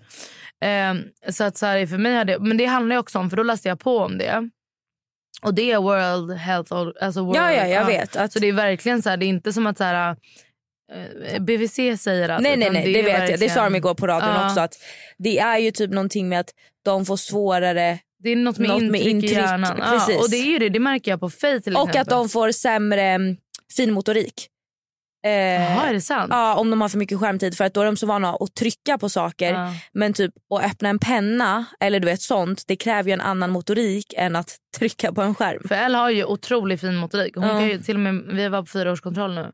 Ehm, så att så här, för mig hade, men det handlar ju också om, för då läste jag på om det. Och det är World Health... Or- Alltså World, ja, ja, jag vet. Att, Så det är verkligen så här, det är inte som att så här, eh, BVC säger att... nej, nej, utan nej, det, är vet jag. Det sa de verkligen- igår på radion Ja. också. Att det är ju typ någonting med att de får svårare Det är något med Något med intryck, intryck, i hjärnan. precis. Ja, och det är ju det, det märker jag på Faye till och exempel. att de får sämre mm, finmotorik. Eh, Jaha, är det sant? Ja, om de har för mycket skärmtid för att då är de så vana att trycka på saker. Ja. Men typ att öppna en penna eller du vet sånt, det kräver ju en annan motorik än att trycka på en skärm. För Elle har ju otroligt fin motorik. Hon Ja. kan ju till och med, vi var på fyraårskontroll nu.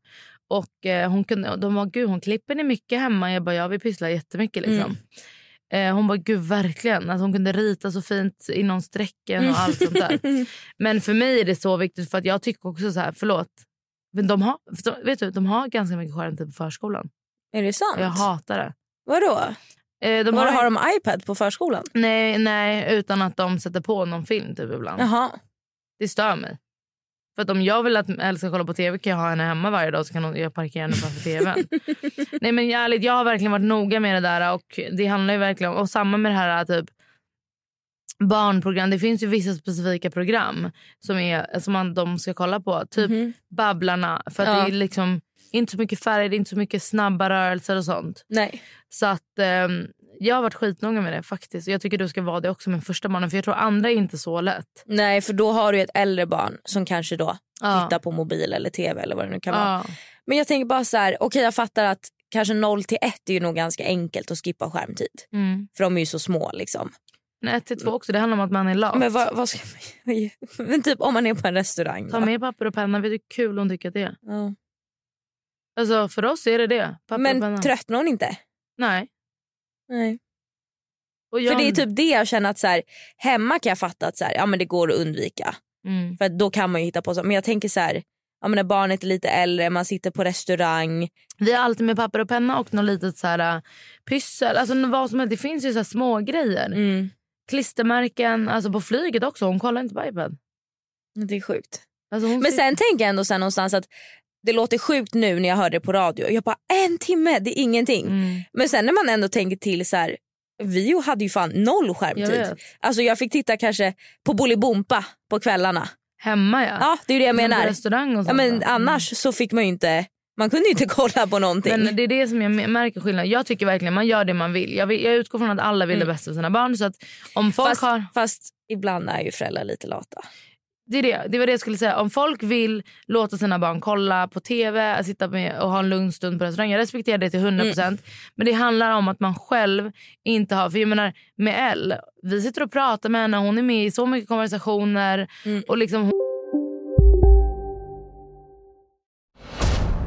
Och eh, hon kunde, och de var gud hon klipper ni mycket hemma? Jag bara ja vi pysslar jättemycket Mm. liksom. Eh, hon bara gud verkligen. Alltså, hon kunde rita så fint inom strecken och allt sånt där. Men för mig är det så viktigt för att jag tycker också så här, förlåt. Men de har, förstå- vet du, de har ganska mycket skärmtid på förskolan. Är det sant? Jag hatar det. Vadå? Eh, de Var har, har de iPad på förskolan? nej, nej, utan att de sätter på någon film typ ibland. Jaha. Det stör mig. För att om jag vill att Elle ska kolla på tv kan jag ha henne hemma varje dag så kan hon- jag parkera henne framför tvn. Nej men ärligt, jag har verkligen varit noga med det där och det handlar ju verkligen om, och samma med det här typ barnprogram. Det finns ju vissa specifika program som, är, som man, de ska kolla på. Typ Mhm. Babblarna. För att Ja. det är liksom inte så mycket färg, det är inte så mycket snabba rörelser och sånt. Nej. Så att ehm, jag har varit skitnoga med det faktiskt. Jag tycker du ska vara det också med första barnen för jag tror andra är inte så lätt. Nej, för då har du ju ett äldre barn som kanske då Ja. tittar på mobil eller tv eller vad det nu kan vara. Ja. Men jag tänker bara så här, okej jag fattar att kanske 0 till 1 är ju nog ganska enkelt att skippa skärmtid. Mm. För de är ju så små liksom. Men ett till två också, det handlar om att man är lat. Men vad, vad ska man Men typ om man är på en restaurang. Ta då. med papper och penna, vet du hur kul hon tycker att det är? Ja. Alltså för oss är det det. Papper och penna. Men tröttnar hon inte? Nej. Nej. Och För jag... det är typ det jag känner att så här, hemma kan jag fatta att så här, ja, men det går att undvika. Mm. För att då kan man ju hitta på så. Men jag tänker så här, ja, men när barnet är lite äldre, man sitter på restaurang. Vi har alltid med papper och penna och något litet så här, äh, pyssel. Alltså vad som helst. Det finns ju så här små grejer. Mm. Klistermärken, alltså på flyget också. Hon kollar inte på iPad. Det är sjukt. Alltså, hon Men ser- sen tänker jag ändå så här någonstans att det låter sjukt nu när jag hörde det på radio. Jag bara en timme, det är ingenting. Mm. Men sen när man ändå tänker till så här, vi hade ju fan noll Jag skärmtid. vet. Alltså jag fick titta kanske på Bolibompa på kvällarna. Hemma ja. Ja, det är ju det jag Men Mm. på menar. Restaurang och Ja, sånt. men då. annars så fick man ju inte, man kunde ju inte kolla på någonting. Men det är det som jag m- märker skillnad. Jag tycker verkligen man gör det man vill. Jag, vill, jag utgår från att alla vill Mm. det bästa för sina barn. Så att om folk fast, har... fast ibland är ju föräldrar lite lata. Det, är det. det var det jag skulle säga. Om folk vill låta sina barn kolla på tv sitta med och ha en lugn stund på restaurang, jag respekterar det till 100%. Men det handlar om att man själv inte har... För jag menar, med Elle, vi sitter och pratar med henne, hon är med i så mycket konversationer. Mm. Och liksom, hon,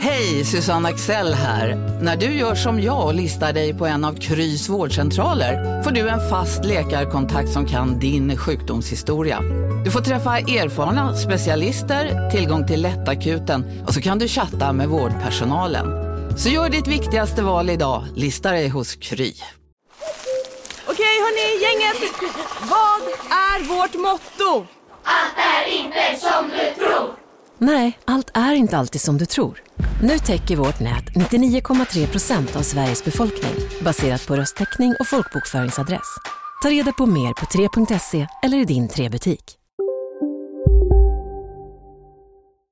Hej, Susanne Axel här. När du gör som jag och listar dig på en av Krys vårdcentraler får du en fast läkarkontakt som kan din sjukdomshistoria. Du får träffa erfarna specialister, tillgång till lättakuten och så kan du chatta med vårdpersonalen. Så gör ditt viktigaste val idag, lista dig hos Kry. Okej hörni, gänget. Vad är vårt motto? Nej, allt är inte alltid som du tror. Nu täcker vårt nät 99,3 procent av Sveriges befolkning baserat på röstteckning och folkbokföringsadress. Ta reda på mer på 3.se eller i din 3-butik.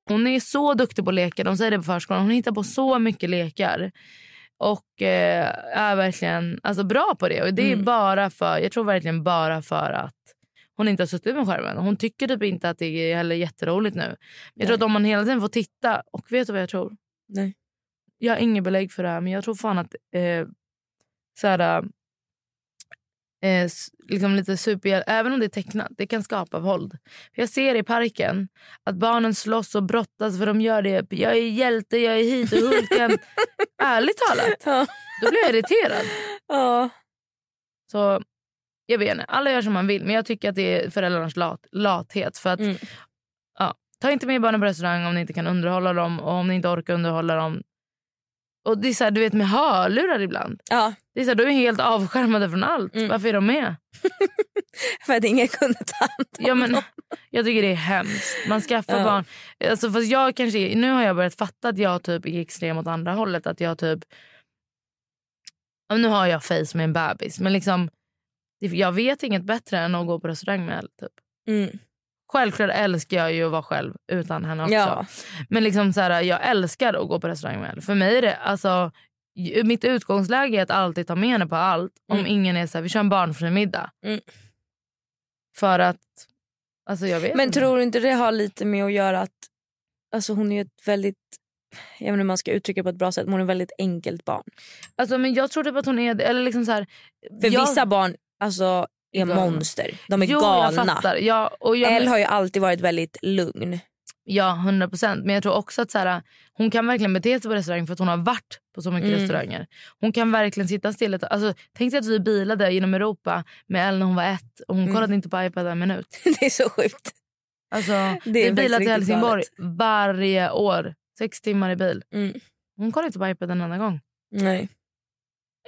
hon är så duktig på lekar, de säger det på förskolan. Hon hittar på så mycket lekar. Och eh, är verkligen alltså, bra på det. Och det är Mm. bara för, jag tror verkligen bara för att hon inte har suttit med skärmen. Hon tycker typ inte att det är heller jätteroligt nu. Jag Nej. tror att om man hela tiden får titta, och vet du vad jag tror? Nej. Jag har inget belägg för det här men jag tror fan att eh, så här, eh, s- liksom lite superhjälte, även om det är tecknat, det kan skapa våld. För jag ser i parken att barnen slåss och brottas för de gör det. Jag är hjälte, jag är hit och Hulken. Ärligt Ja. talat, då blir jag irriterad. Ja. Så jag vet inte, alla gör som man vill men jag tycker att det är föräldrarnas lat, lathet. För att, Mm. ja, ta inte med barnen på restaurang om ni inte kan underhålla dem och om ni inte orkar underhålla dem. Och det är så här, du vet med hörlurar ibland. ja, Det är så här, de är helt avskärmade från allt. Mm. Varför är de med? för att ingen kunde ta hand om Ja, men, dem. jag tycker det är hemskt. Man skaffar Ja. barn. Alltså, fast jag kanske, är- nu har jag börjat fatta att jag typ är extrem åt andra hållet. Att jag typ... Ja, men nu har jag face med en bebis. Men liksom, det- jag vet inget bättre än att gå på restaurang med Elle. Typ. Mm. Självklart älskar jag ju att vara själv utan henne också. Ja. Men liksom så här, jag älskar att gå på restaurang med Elle. För mig är det, alltså, ju- mitt utgångsläge är att alltid ta med henne på allt. Om Mm. ingen är så här, vi kör en barnfri middag. Mm. För att, alltså jag vet Men inte. tror du inte det har lite med att göra att alltså hon är ett väldigt, jag vet inte hur man ska uttrycka det på ett bra sätt, men hon är ett väldigt enkelt barn. Alltså, men jag tror typ att hon är det. Eller liksom så här, För jag, vissa barn alltså, är Galna. monster, de är jo, Jag galna. fattar. Ja, och jag, Elle har ju alltid varit väldigt lugn. Ja, 100 procent. Men jag tror också att så här, hon kan verkligen bete sig på restaurang för att hon har varit på så mycket Mm. restauranger. Hon kan verkligen sitta still. ett- Alltså, tänk dig att vi bilade genom Europa med Elle när hon var ett och hon Mm. kollade inte på iPad en minut. det är så sjukt. Alltså, är vi faktiskt bilade till riktigt Helsingborg varje år. Sex timmar i bil. Mm. Hon kollade inte på iPad en enda gång. Nej.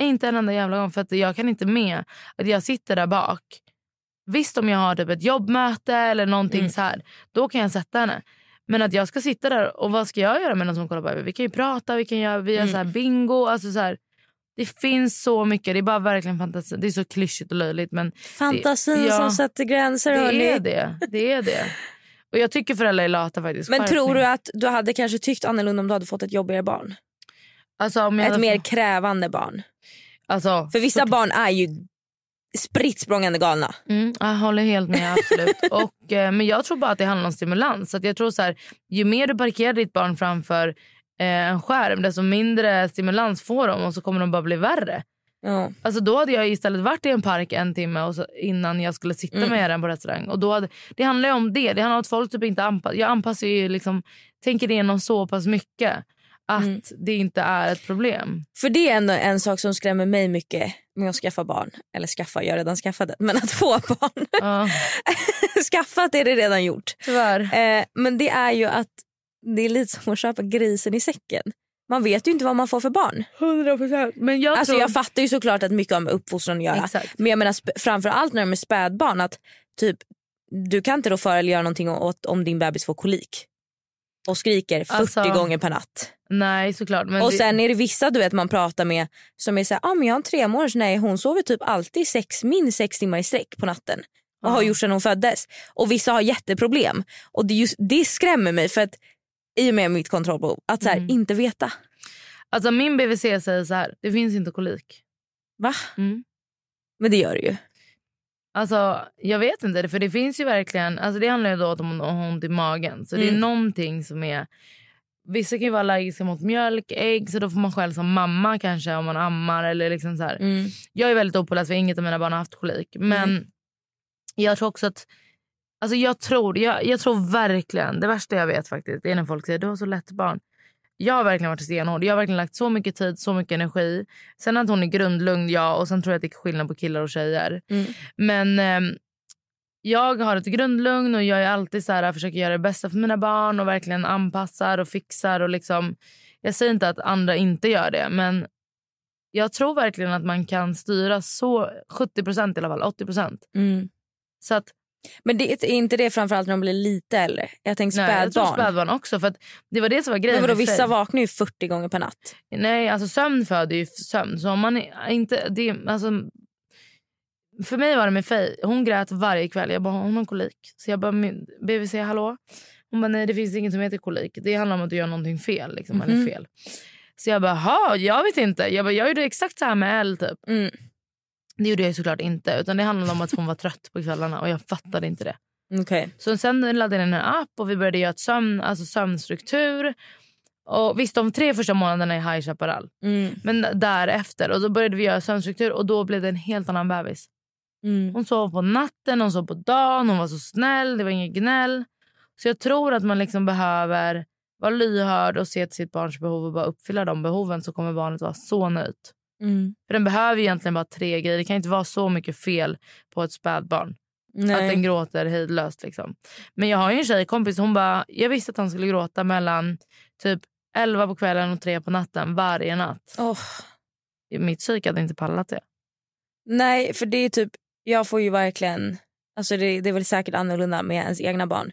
Inte en enda jävla gång. För att jag kan inte med att jag sitter där bak. Visst om jag har typ ett jobbmöte eller någonting Mm. så här. Då kan jag sätta henne. Men att jag ska sitta där och vad ska jag göra medan hon kollar på iPad? Vi kan ju prata, vi kan göra vi gör Mm. så här bingo. Alltså så här, det finns så mycket. Det är bara verkligen fantasi. Det är så klyschigt och löjligt. Men Fantasin Det- ja. som sätter gränser hörni. det är det. Det är det. Och jag tycker föräldrar är lata faktiskt. Men Skärpning. tror du att du hade kanske tyckt annorlunda om du hade fått ett jobbigare barn? Alltså, om jag Ett hade- mer krävande barn. Alltså, För vissa barn är ju spritt språngande galna. Mm, jag håller helt med. absolut. Och, eh, men jag tror bara att det handlar om stimulans. Så att jag tror så här, Ju mer du parkerar ditt barn framför eh, en skärm desto mindre stimulans får de och så kommer de bara bli värre. Ja. Alltså då hade jag istället varit i en park en timme och så, innan jag skulle sitta Mm. med den på restaurang. Och då hade, det handlar ju om det. Det handlar om att folk typ inte anpassar. Jag anpassar ju liksom, tänker igenom så pass mycket att Mm. det inte är ett problem. För det är ändå en sak som skrämmer mig mycket med att skaffa barn. Eller skaffa, jag har redan skaffat det. Men att få barn. Ja, Skaffat är det redan gjort. tyvärr. Eh, men det är ju att det är lite som att köpa grisen i säcken. Man vet ju inte vad man får för barn. 100 procent. Men jag Alltså tror... jag fattar ju såklart att mycket har med uppfostran att göra. Exakt. Men jag menar sp- framförallt när de är spädbarn att typ du kan inte rå för eller göra någonting åt om din bebis får kolik. Och skriker 40 Alltså, gånger per natt. Nej, såklart. Men Och det- sen är det vissa du vet man pratar med som är såhär, ah, men jag har en tremånaders, nej hon sover typ alltid sex, minst sex timmar i sträck på natten. Och har Ja. gjort sedan hon föddes. Och vissa har jätteproblem. Och det, är just, det skrämmer mig för att i och med mitt kontrollbehov, att så här, Mm. inte veta. Alltså min BVC säger så här, det finns inte kolik. Va? Mm. Men det gör det ju. Alltså jag vet inte, för det finns ju verkligen, alltså det handlar ju då om att ha ont i magen. Så det är Mm. någonting som är, vissa kan ju vara allergiska mot mjölk, ägg, så då får man själv som mamma kanske om man ammar eller liksom så här. Mm. Jag är väldigt opåläst för inget av mina barn har haft kolik. Men jag tror också att... Alltså jag, tror, jag, jag tror verkligen... Det värsta jag vet faktiskt det är när folk säger du har så lätt barn. Jag har verkligen varit stenhård. Jag har verkligen lagt så mycket tid, så mycket energi. Sen att hon är grundlugn, ja. Och sen tror jag att det är skillnad på killar och tjejer. Mm. Men ehm, jag har ett grundlugn och jag är alltid så här, försöker göra det bästa för mina barn och verkligen anpassar och fixar. och liksom... Jag säger inte att andra inte gör det, men jag tror verkligen att man kan styra så 70 procent i alla fall, 80 procent. Mm. Så att, Men det är inte det framförallt när de blir lite äldre? Jag tänker nej, jag tror spädbarn. spädbarn också. För att det var det som var grejen. Men vadå, med vissa Faye. vaknar ju 40 gånger per natt. Nej, alltså sömn föder ju sömn. Så om man är- inte, det, alltså, för mig var det med Faye. Hon grät varje kväll. Jag bara, hon har kolik. Så jag bara, "Men BVC, hallå? Hon bara, nej det finns inget som heter kolik. Det handlar om att du gör någonting fel. Liksom, Mhm. eller fel. Så jag bara, "Ha, jag vet inte. Jag, bara, jag gjorde exakt så här med Elle typ. Mm. Det gjorde jag ju såklart inte. Utan det handlade om att hon var trött på kvällarna och jag fattade inte det. Okej. Så sen laddade jag ner en app och vi började göra ett sömn, alltså sömnstruktur. Och visst, de tre första månaderna i High Chaparral. Mm. Men därefter. Och då började vi göra sömnstruktur och då blev det en helt annan bebis. Mm. Hon sov på natten, hon sov på dagen, hon var så snäll, det var inget gnäll. Så jag tror att man liksom behöver vara lyhörd och se till sitt barns behov och bara uppfylla de behoven så kommer barnet vara så nöjt. Mm. För den behöver egentligen bara tre grejer. Det kan inte vara så mycket fel på ett spädbarn. Att den Nej. gråter hejdlöst. Liksom. Men jag har ju en tjejkompis. Hon bara, jag visste att han skulle gråta mellan typ 11 på kvällen och 3 på natten varje natt. Åh. Mitt psyk hade inte pallat det. Nej, för det är typ... Jag får ju verkligen... Alltså det, det är väl säkert annorlunda med ens egna barn.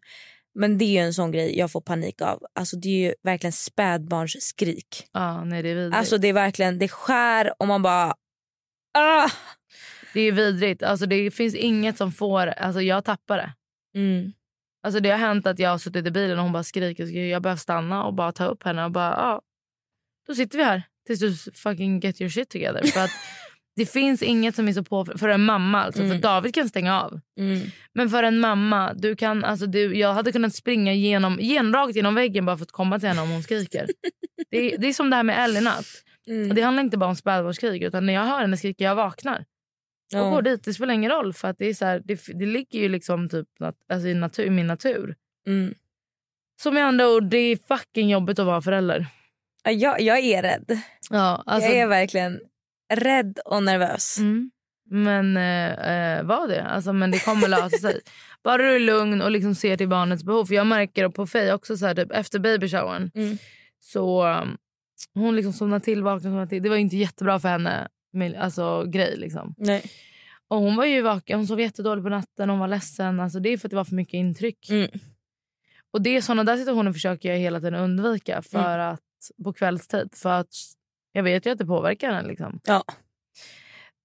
Men det är ju en sån grej jag får panik av. Alltså det är ju verkligen spädbarns skrik. Ja, nej, det är vidrigt. Alltså det är verkligen... Det skär och man bara... Ah! det är vidrigt. Alltså, det finns inget som får... Alltså, jag tappar det. Mm. Alltså, det har hänt att jag har suttit i bilen och hon bara skriker. skriker. Jag behöver stanna och bara ta upp henne. Och bara, ja, då sitter vi här tills du fucking get your shit together. För att det finns inget som är så på för en mamma. Alltså, Mm. För David kan stänga av. Mm. Men för en mamma, du kan, alltså du, jag hade kunnat springa genom, genrakt genom väggen bara för att komma till henne om hon skriker. det, är- det är som det här med Ellie natt. Mm. Och Det handlar inte bara om spädbarnskrig utan när jag hör henne skrika jag vaknar. Och Ja. går dit, det spelar ingen roll för att det, är så här, det, det ligger ju liksom typ nat, alltså i, natur, i min natur. Mm. Så med andra ord, det är fucking jobbigt att vara förälder. Ja, Jag, jag är rädd. Ja, alltså, jag är verkligen rädd och nervös. Mm. Men eh, eh, var det. Alltså, men det kommer lösa sig. Bara du är lugn och liksom ser till barnets behov. För Jag märker det på Faye också så här, typ, efter babyshowern. Mm. Så um, hon liksom somnade till, vaknade, somnade till. Det var ju inte jättebra för henne. mil- Alltså grej liksom. Nej. Och hon var ju vaken. Hon sov jättedåligt på natten. Hon var ledsen. Alltså, det är för att det var för mycket intryck. Mm. Och det är sådana där situationer försöker jag hela tiden undvika. För Mm. att på kvällstid. För att jag vet ju att det påverkar henne liksom. Ja.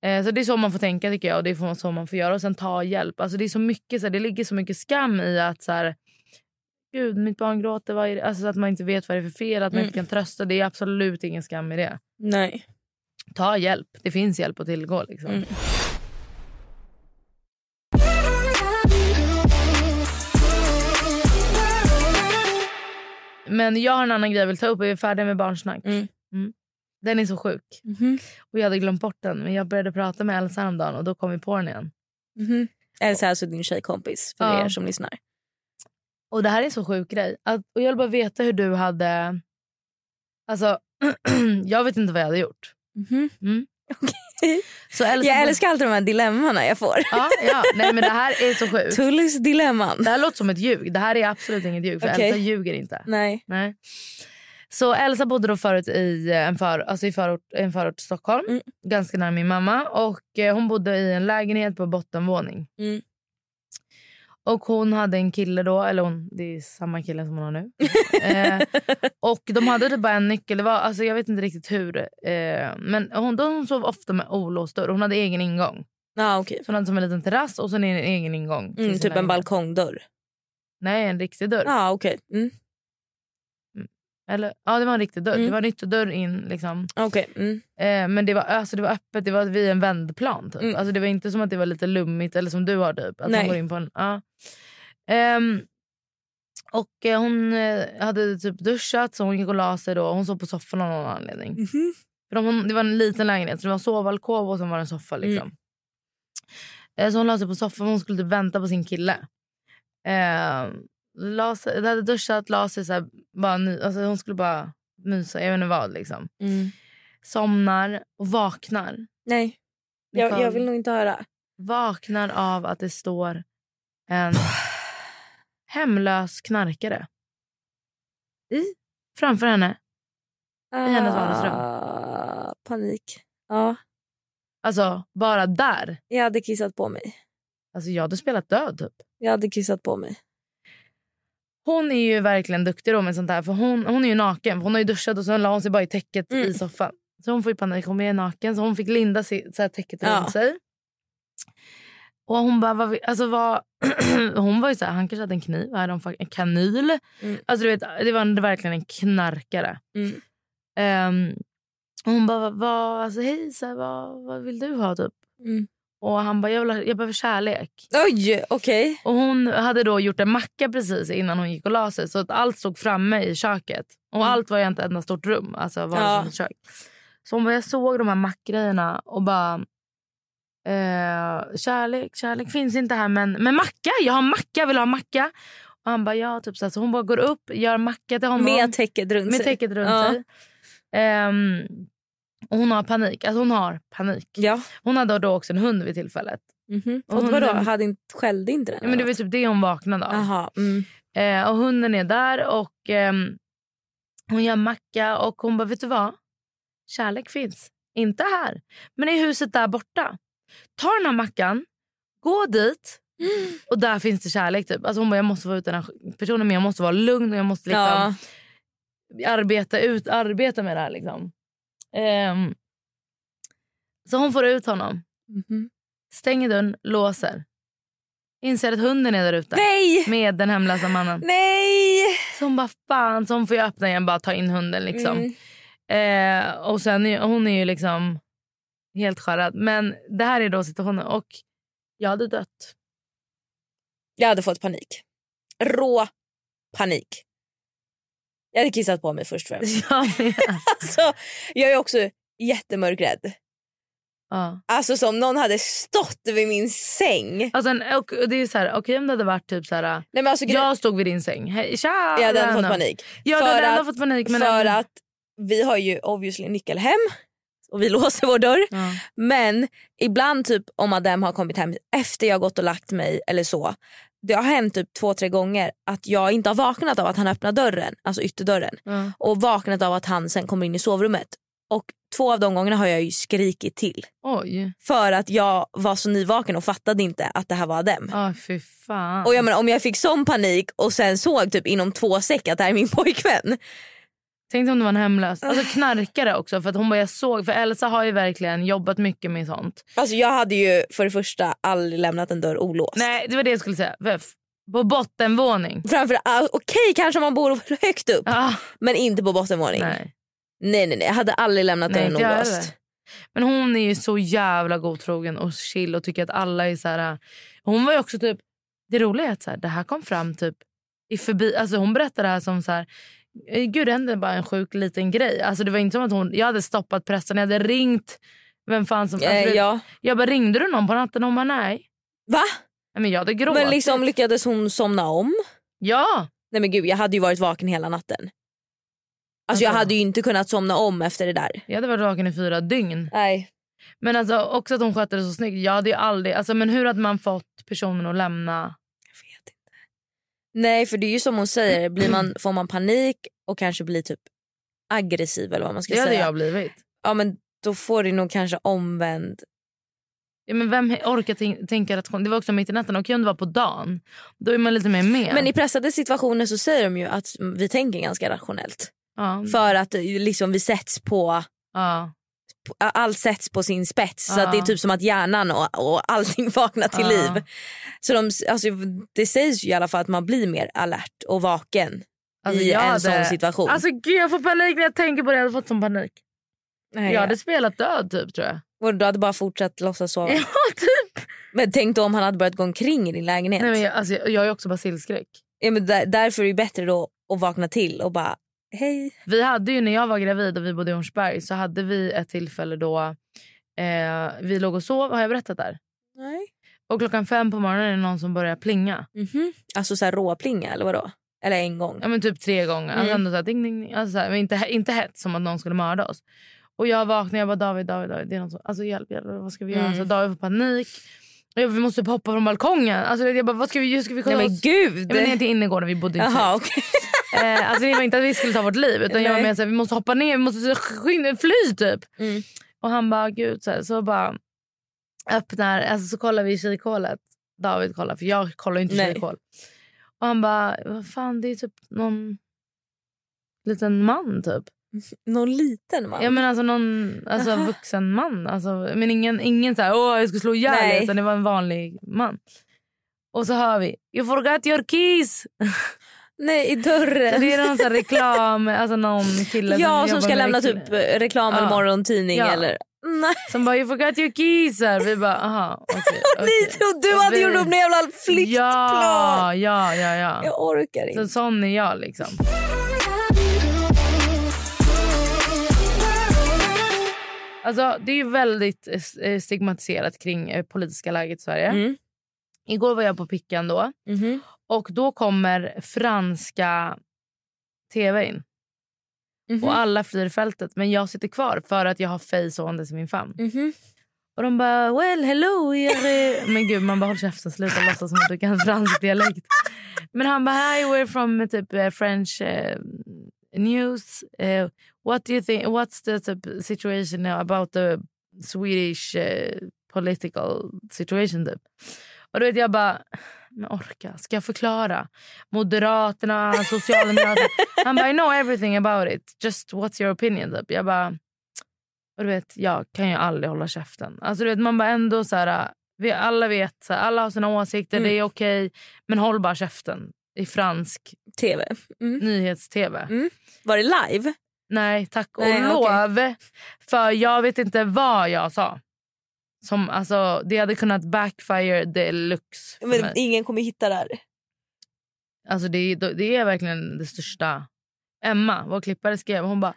Eh, Så det är så man får tänka tycker jag och det är så man får göra och sen ta hjälp. Alltså det är så mycket så här, det ligger så mycket skam i att så här gud mitt barn gråter vad är det? Alltså så att man inte vet vad det är för fel, att man Mm. inte kan trösta. Det är absolut ingen skam i det. Nej. Ta hjälp. Det finns hjälp att tillgå liksom. Mm. Men jag har en annan grej jag vill ta upp. Vi är färdiga med barnsnack. Mm. Mm. Den är så sjuk. Mhm. Och jag hade glömt bort den. Men jag började prata med Elsa häromdagen och då kom vi på den igen. Mhm. Elsa är alltså din tjejkompis för Ja. er som lyssnar. Och det här är en så sjuk grej. Att, och jag vill bara veta hur du hade... Alltså, jag vet inte vad jag hade gjort. Mm-hmm. Mhm. Så Elsa, Jag älskar alltid de här dilemmana jag får. Ja, ja. Nej, men det här är så sjukt. Tullis dilemman. Det här låter som ett ljug. Det här är absolut inget ljug. För Okej. Elsa ljuger inte. Nej. Nej. Så Elsa bodde då förut i eh, en, för, alltså i förort, en förort till Stockholm. Mm. Ganska nära min mamma. Och eh, Hon bodde i en lägenhet på bottenvåning. Mm. Och hon hade en kille då, eller hon, det är samma kille som hon har nu. eh, och de hade typ bara en nyckel, det var, alltså jag vet inte riktigt hur. Eh, men hon, då hon sov ofta med olåst dörr, hon hade egen ingång. Ja, Ah, okej. Så hon hade som en liten terrass och sen en egen ingång. till Mm, sin typ en lägenhet. balkongdörr. Nej, en riktig dörr. Ja, okej. Mm. Eller, ja, det var en riktig dörr. Mm. Det var en ytterdörr in liksom. Okej. Mm. Eh, men det var, alltså, det var öppet, det var vid en vändplan. Typ. Mm. Alltså, det var inte som att det var lite lummigt eller som du har typ. Att Nej. Hon går in på en, ja. Ehm, och eh, hon eh, hade typ duschat så hon gick och la sig då. Hon sov på soffan av någon anledning. Mhm. För de, hon, det var en liten lägenhet så det var en sovalkov och sen var det en soffa Mm. liksom. Eh, så hon la sig på soffan för hon skulle typ vänta på sin kille. Eh, la sig, hade duschat, la sig så här, bara, ny- alltså, hon skulle bara mysa, jag vet inte vad liksom Mm. somnar och vaknar. Nej, jag, Nicole jag vill nog inte höra. Vaknar av att det står en hemlös knarkare i framför henne. I hennes vardagsrum. Ah, Panik. Ja, Alltså bara där. jag hade kissat på mig. Alltså jag hade spelat död typ. Jag hade kissat på mig. Hon är ju verkligen duktig då med sånt här. För hon, hon är ju naken. För hon har ju duschat och sen la hon sig bara i täcket Mm. i soffan. Så hon får ju panik. Hon är naken. Så hon fick linda sig, så här, täcket Ja. runt sig. Och hon bara, vad, vi- alltså vad, hon var ju så här, han kanske hade en kniv, här har han en kanyl. Mm. Alltså du vet, det var en, verkligen en knarkare. Mm. Ehm, och hon bara, vad, vad, alltså hej, så här, vad, vad vill du ha typ? Mm. Och han bara, jag, vill, ha- jag behöver kärlek. Oj, okej. Och Hon hade då gjort en macka precis innan hon gick och la sig så att allt stod framme i köket. Och Mm. Allt var ju inte ett enda stort rum. Alltså var Ja. som ett kök. Så hon bara, jag såg de här mackgrejerna och bara... Eh, kärlek, kärlek finns inte här men, men macka, jag har macka, vill du ha macka? Och han bara ja, typ så, här. så hon bara går upp, gör macka till honom. Med täcket runt med sig. täcket runt Ja. sig. Ehm, och hon har panik, alltså hon har panik. Ja. Hon hade då också en hund vid tillfället. Mhm. Och Och Mm-hmm. hon- vadå, hade inte, skällde inte den? Ja, men det var typ det hon vaknade av. Aha, mm. Eh, och hunden är där och ehm, hon gör macka och hon bara, vet du vad? Kärlek finns. Inte här, men i huset där borta. Ta den här mackan, gå dit och där finns det kärlek. Typ. Alltså hon bara, jag måste vara ute den här personen men jag måste vara lugn och jag måste liksom ja. arbeta, ut, arbeta med det här. Liksom. Ehm, så hon får ut honom, Mm-hmm. Mhm. stänger dörren, låser. Inser att hunden är där ute Nej! med den hemlösa mannen. Nej! Så hon bara fan, så hon får ju öppna igen bara ta in hunden liksom. Mm. Eh, och sen är, hon är ju liksom helt skärrad. Men det här är då situationen och jag hade dött. Jag hade fått panik. Rå panik. Jag hade kissat på mig först och främst. Jag med. Alltså, jag är också jättemörkrädd. ja. Alltså som någon hade stått vid min säng. alltså, en- och, och det är så här, okej om det hade varit typ så här. Nej, men alltså, gre- Jag stod vid din säng. Hej, tja! jag hade ändå Lena. fått panik. Ja, du För hade ändå att- fått panik. Men för att vi har ju obviously nyckel hem och vi låser vår dörr. Ja. Men ibland typ om Adem har kommit hem efter jag gått och lagt mig eller så. Det har hänt typ två, tre gånger att jag inte har vaknat av att han öppnar dörren, alltså ytterdörren. Ja. Och vaknat av att han sen kommer in i sovrummet. Och två av de gångerna har jag ju skrikit till. Oj. För att jag var så nyvaken och fattade inte att det här var Adem. Ja, fy fan. Och jag menar, om jag fick sån panik och sen såg typ inom två säck att det här är min pojkvän. Tänk om det var en hemlös. Ah. Alltså knarkare också. För att hon bara, jag såg. För Elsa har ju verkligen jobbat mycket med sånt. Alltså jag hade ju för det första aldrig lämnat en dörr olåst. Nej, det var det jag skulle säga. F- På bottenvåning. Framför allt, okej kanske om man bor högt upp Ah, men inte på bottenvåning. Nej. nej, nej nej jag hade aldrig lämnat nej dörren inte jag heller. olåst. Men hon är ju så jävla godtrogen och chill och tycker att alla är så här... ah. Hon var ju också typ... Det roliga är att så här, det här kom fram typ i förbi... Alltså hon berättade det här som så här... "Eh, Gud, det hände bara en sjuk liten grej. Alltså det var inte som att hon... Jag hade stoppat pressen, jag hade ringt... Vem fan som... Eh, alltså, det- ja. Jag bara, ringde du någon på natten? Hon bara, nej. Va? nej men jag hade gråtit. Men liksom lyckades hon somna om? Ja! Nej men gud jag hade ju varit vaken hela natten. Alltså, jag Alltså. hade ju inte kunnat somna om efter det där. Jag hade varit vaken i fyra dygn. Nej. Men alltså också att hon skötte det så snyggt. Jag hade ju aldrig... Alltså men hur hade man fått personen att lämna... Nej för det är ju som hon säger, blir man, får man panik och kanske blir typ aggressiv eller vad man ska Det hade säga. jag blivit. Ja men då får du nog kanske omvänd Ja, men vem orkar tän- tänka rationellt? Det var också mitt i natten. Och kunde vara på dagen. Då är man lite mer med. Men i pressade situationer så säger de ju att vi tänker ganska rationellt. ja. För att eh, liksom vi sätts på, Ja. på- allt sätts på sin spets. Så Ja. att det är typ som att hjärnan och, och allting vaknar till Ja. liv. Så de, alltså, det sägs ju i alla fall att man blir mer alert och vaken Alltså, i en jag sån hade- situation. Alltså gud jag får panik när jag tänker på det. Jag hade fått sån panik. Nej, jag hade spelat död typ tror jag. Och du hade bara fortsatt låtsas sova. Ja, typ. Men tänk då om han hade börjat gå omkring i din lägenhet. Nej, men jag, alltså, jag jag har ju också basilskräck. ja, men där, därför är det bättre då att vakna till och bara hej. Vi hade ju när jag var gravid och vi bodde i Hornsberg så hade vi ett tillfälle då eh, vi låg och sov. Har jag berättat där? Nej. Och klockan fem på morgonen är det någon som börjar plinga. Alltså så här råplinga eller vadå? Eller en gång. Ja, men typ tre gånger. Alltså Mm. ändå så här, ding, ding, ding. Alltså så här, men inte, he- inte hett som att någon skulle mörda oss. Och jag vaknar jag bara David, David, David. Det är någon som, alltså hjälp, hjälp, vad ska vi göra? Mm. Så David får panik. Och jag bara, vi måste typ hoppa från balkongen. Alltså jag bara, vad ska vi göra? Ska vi kolla Nej men oss? gud. Jag var ner till innergården, vi bodde inte Jaha, okej. eh, Alltså det var inte att vi skulle ta vårt liv utan jag var Nej. med såhär, vi måste hoppa ner, vi måste skynda, fly typ. Mm. Och han bara gud så, här, så bara öppnar, alltså så kollar vi i kikhålet. David kollar för jag kollar ju inte i Nej. kikhål. Och han bara vad fan det är typ någon liten man typ. Någon liten man. Ja men alltså någon alltså, Aha. vuxen man. Alltså, men ingen, ingen så här åh jag ska slå ihjäl dig", Nej. utan det var en vanlig man. Och så hör vi you forgot your keys. Nej, i Så dörren. det är någon sån här reklam, alltså någon kille ja, som jobbar ska med lämna reklam- typ eh, reklam eller Ja. morgontidning Ja. eller... Nej, Som bara you forgot your keys här. Vi bara aha okej. ni okej. trodde du Och hade vi- gjort upp en jävla flyktplan! Ja, ja, ja. ja. Jag orkar Så inte. sån är jag liksom. Alltså, det är ju väldigt eh, stigmatiserat kring eh, politiska läget i Sverige. Mm. Igår var jag på Pickan då Mhm. och då kommer franska tv in. Mhm. Och alla flyr fältet men jag sitter kvar för att jag har Faye sovandes i min famn. Mhm. Och de bara well hello you're... Men gud man bara håll käften sluta låtsas som att du kan fransk dialekt. Men han bara hi we're from eh, typ eh, French eh, news. Eh, what do you think what's the typ, situation now about the Swedish eh, political situation typ. Och då vet jag bara men orka, ska jag förklara? Moderaterna, Socialdemokraterna. Han bara I know everything about it. Just what's your opinion typ. Jag bara och du vet, jag kan ju aldrig hålla käften. Alltså, du vet, man bara ändå så här, vi alla vet, så här, alla har sina åsikter, Mm. det är okej. Men håll bara käften i fransk TV. Mm. nyhets-tv. Var det live? Nej, tack och Nej, okej. lov. För jag vet inte vad jag sa. Som, alltså, det hade kunnat backfire deluxe. för Men mig. ingen kommer hitta det här. Alltså det, är- det är verkligen det största. Emma, vår klippare, skrev. Hon bara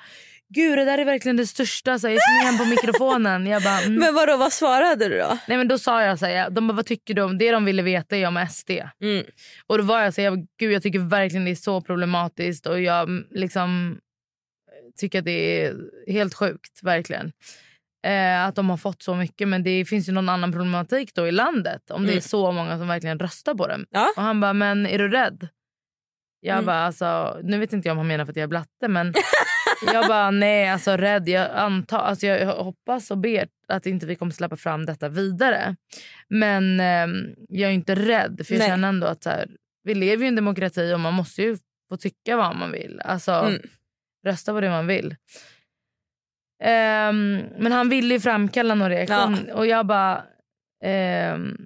“Gud, det där är verkligen det största. Så jag gick med hem på mikrofonen. Jag bara, mm. Men vadå, vad svarade du då? Nej men då sa jag så här, de bara vad tycker du om det de ville veta är jag med SD. Mm. Och då var jag så här, jag, bara, gud jag tycker verkligen det är så problematiskt och jag mm, liksom tycker att det är helt sjukt verkligen. Eh, att de har fått så mycket men det finns ju någon annan problematik då i landet om det Mm. är så många som verkligen röstar på dem. Ja. Och han bara men är du rädd? Jag Mm. bara alltså, nu vet inte jag om han menar för att jag är blatte men jag bara nej alltså rädd. Jag, antar, alltså, jag hoppas och ber att inte vi kommer släppa fram detta vidare. Men ehm, jag är inte rädd för jag Nej. känner ändå att så här, vi lever ju i en demokrati och man måste ju få tycka vad man vill. Alltså Mm. rösta på det man vill. Ehm, men han ville ju framkalla någon reaktion och jag bara ehm,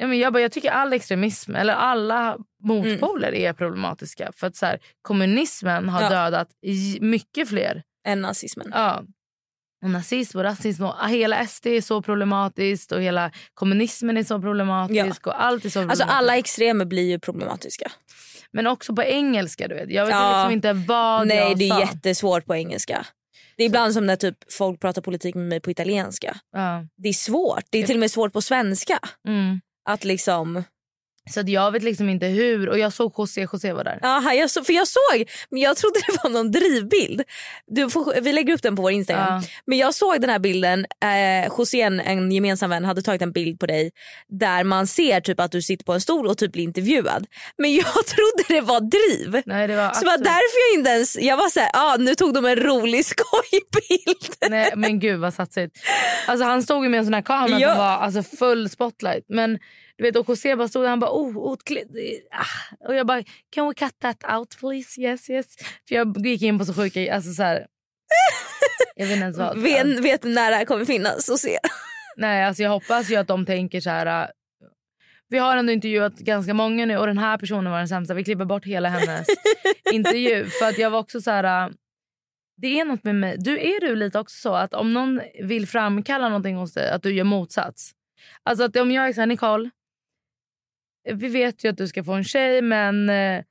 Ja, men jag, bara, jag tycker all extremism, eller alla motpoler, är problematiska. För att så här, Kommunismen har Mm. Ja. dödat j- mycket fler. Än Eh, nazismen. Ja. Och nazism och rasism och hela SD är så problematiskt och hela kommunismen är så problematisk. Och allt är Alltså så problematiskt. alla extremer blir ju problematiska. Men också på engelska. du vet. Jag vet Ja. liksom inte vad Nej jag det sa. är jättesvårt på engelska. Det är ibland som när typ folk pratar politik med mig på italienska. Ja. Det är svårt. Det är till och med svårt på svenska. Mm. Att liksom... Så att jag vet liksom inte hur. Och jag såg José, José var där. Aha, jag så, för jag såg, men jag trodde det var någon drivbild. Du får, vi lägger upp den på vår Instagram. Ja. Men jag såg den här bilden, eh, Josén, en gemensam vän, hade tagit en bild på dig där man ser typ att du sitter på en stol och typ blir intervjuad. Men jag trodde det var driv. Nej, det var Så det var absolut- därför jag inte ens, jag var såhär, ah, nu tog de en rolig skojbild. Nej, men gud vad satsigt. Alltså, han stod ju med en sån här kamera Ja. som var alltså, full spotlight. Men du vet, och José bara stod där han bara oh, otklädd. Ah. Och jag bara can we cut that out please? Yes yes. För jag gick in på så sjuka, alltså så här. Jag vet inte ens vad. Vet, vet när det här kommer finnas och se. Nej, alltså jag hoppas ju att de tänker så här. äh, Vi har ändå intervjuat ganska många nu och den här personen var den sämsta. Vi klipper bort hela hennes intervju. För att jag var också så här. äh, Det är något med mig. Du är du lite också så att om någon vill framkalla någonting hos dig att du gör motsats. Alltså att om jag är så här Nicole. Vi vet ju att du ska få en tjej men. eh,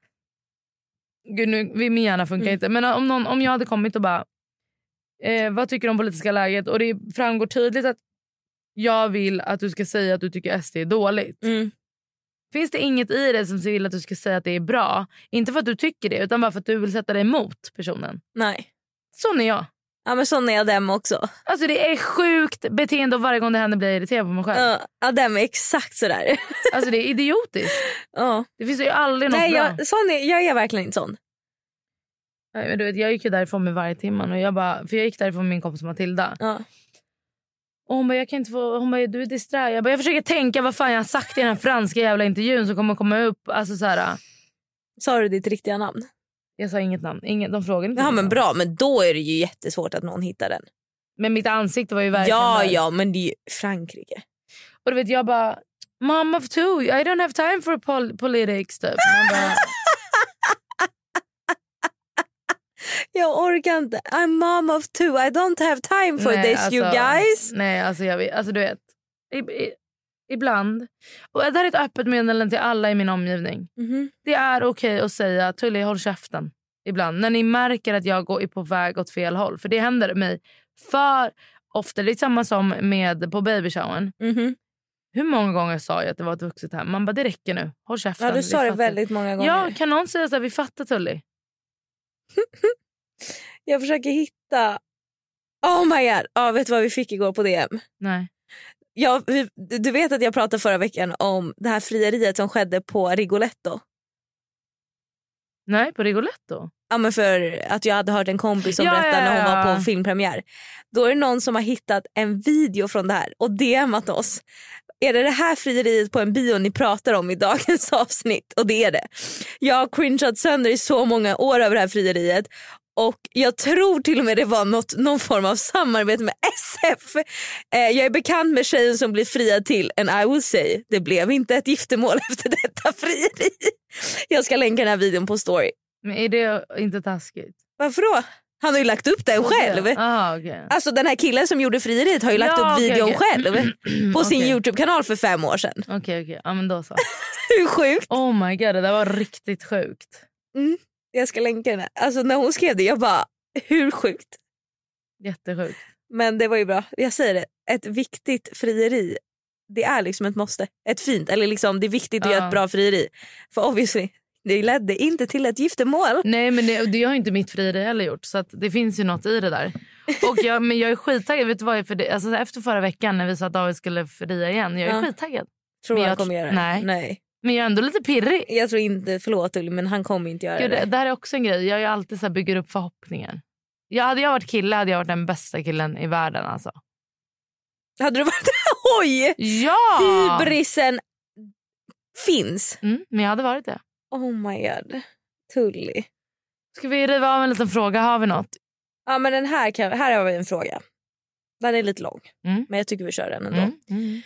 Gud nu, vi- min hjärna funkar Mm. inte. Men äh, om, någon, om jag hade kommit och bara. Eh, vad tycker du om politiska läget? Och det framgår tydligt att jag vill att du ska säga att du tycker SD är dåligt. Finns det inget i dig som vill att du ska säga att det är bra? Inte för att du tycker det, utan bara för att du vill sätta dig emot personen. Nej. Sån är jag. Ja men sån är jag dem också. Alltså Det är sjukt beteende och varje gång det händer blir jag irriterad på mig själv. Ja, ja dem är exakt sådär. Alltså Det är idiotiskt. Ja. Det finns ju aldrig något Nej bra. jag, sån är, jag är verkligen inte sån. Nej, men du vet, jag gick ju därifrån med varje timman och jag bara, för jag gick därifrån med min kompis Matilda. Ja. Och hon bara, jag kan inte få, hon bara, du är disträ. Jag bara, jag försöker tänka vad fan jag har sagt i den här franska jävla intervjun som kommer komma upp. Alltså så här, Sa du ditt riktiga namn? jag sa inget namn. Ingen, de frågade inte Ja mitt namn. men bra men då är det ju jättesvårt att någon hittar den. Men mitt ansikte var ju verkligen Ja där. ja men det är ju Frankrike. Och du vet, jag bara... Mom of two, I don't have time for pol- politics. Typ. Man bara, Jag orkar inte. I'm mom of two. I don't have time for nej, alltså, this you guys. Nej, alltså, jag vet, alltså du vet. I, i, ibland. Och det här är ett öppet meddelande till alla i min omgivning. Mhm. Det är okej att säga Tully, håll käften. Ibland. När ni märker att jag går är på väg åt fel håll. För det händer mig. För ofta, det är samma som med på babyshowen. Mhm. Hur många gånger sa jag att det var ett vuxet hem? Man bara, det räcker nu. Håll käften. Ja, du vi sa det fattar. väldigt många gånger. Ja, kan någon säga så här, vi fattar Tully? Jag försöker hitta... Oh my god! Ja, vet du vad vi fick igår på DM? Nej. Ja, vi, du vet att jag pratade förra veckan om det här frieriet som skedde på Rigoletto. Nej, på Rigoletto? Ja, men för att jag hade hört en kompis som Ja, berättade när hon ja, ja. var på filmpremiär. Då är det någon som har hittat en video från det här och DMat oss. Är det det här frieriet på en bio ni pratar om i dagens avsnitt? Och det är det. Jag har cringeat sönder i så många år över det här frieriet. Och jag tror till och med det var något, någon form av samarbete med SF. Eh, jag är bekant med tjejen som blev friad till en I will say. Det blev inte ett giftermål efter detta frieri. Jag ska länka den här videon på story. Men är det inte taskigt? Varför då? Han har ju lagt upp den själv. Aha, okej. Alltså den här killen som gjorde frieriet har ju lagt Ja, upp okej, videon okej. själv på sin Okej. Youtube-kanal för fem år sedan. Okej, okej. Ja, men då så. Hur sjukt? Oh my god, det där var riktigt sjukt. Jag ska länka den här. Alltså när hon skrev det jag bara hur sjukt? Jättesjukt. Men det var ju bra. Jag säger det, ett viktigt frieri det är liksom ett måste. Ett fint, eller liksom det är viktigt att Ja. göra ett bra frieri. För obviously, det ledde inte till ett giftermål. Nej, men det, det har ju inte mitt frieri heller gjort. Så att det finns ju något i det där. Och jag, men jag är skittaggad. Vet du vad jag, för det, alltså, efter förra veckan när vi sa att David skulle fria igen. Jag är Ja. skittaggad. Tror Men jag jag kommer tr- göra det? nej. Men jag är ändå lite pirrig. Jag tror inte, förlåt Ulli men han kommer inte göra Gud, det. det, det här är också en grej. Jag är ju alltid så här, bygger upp förhoppningar. Jag, hade jag varit kille hade jag varit den bästa killen i världen. Alltså. Hade du varit... Oj! Ja! Hybrisen finns. Mm, men jag hade varit det. Oh my god. Tully. Ska vi riva av en liten fråga? Har vi något? Ja, men den här, kan, här har vi en fråga. Den är lite lång, Mm. men jag tycker vi kör den ändå. Mm. Mm.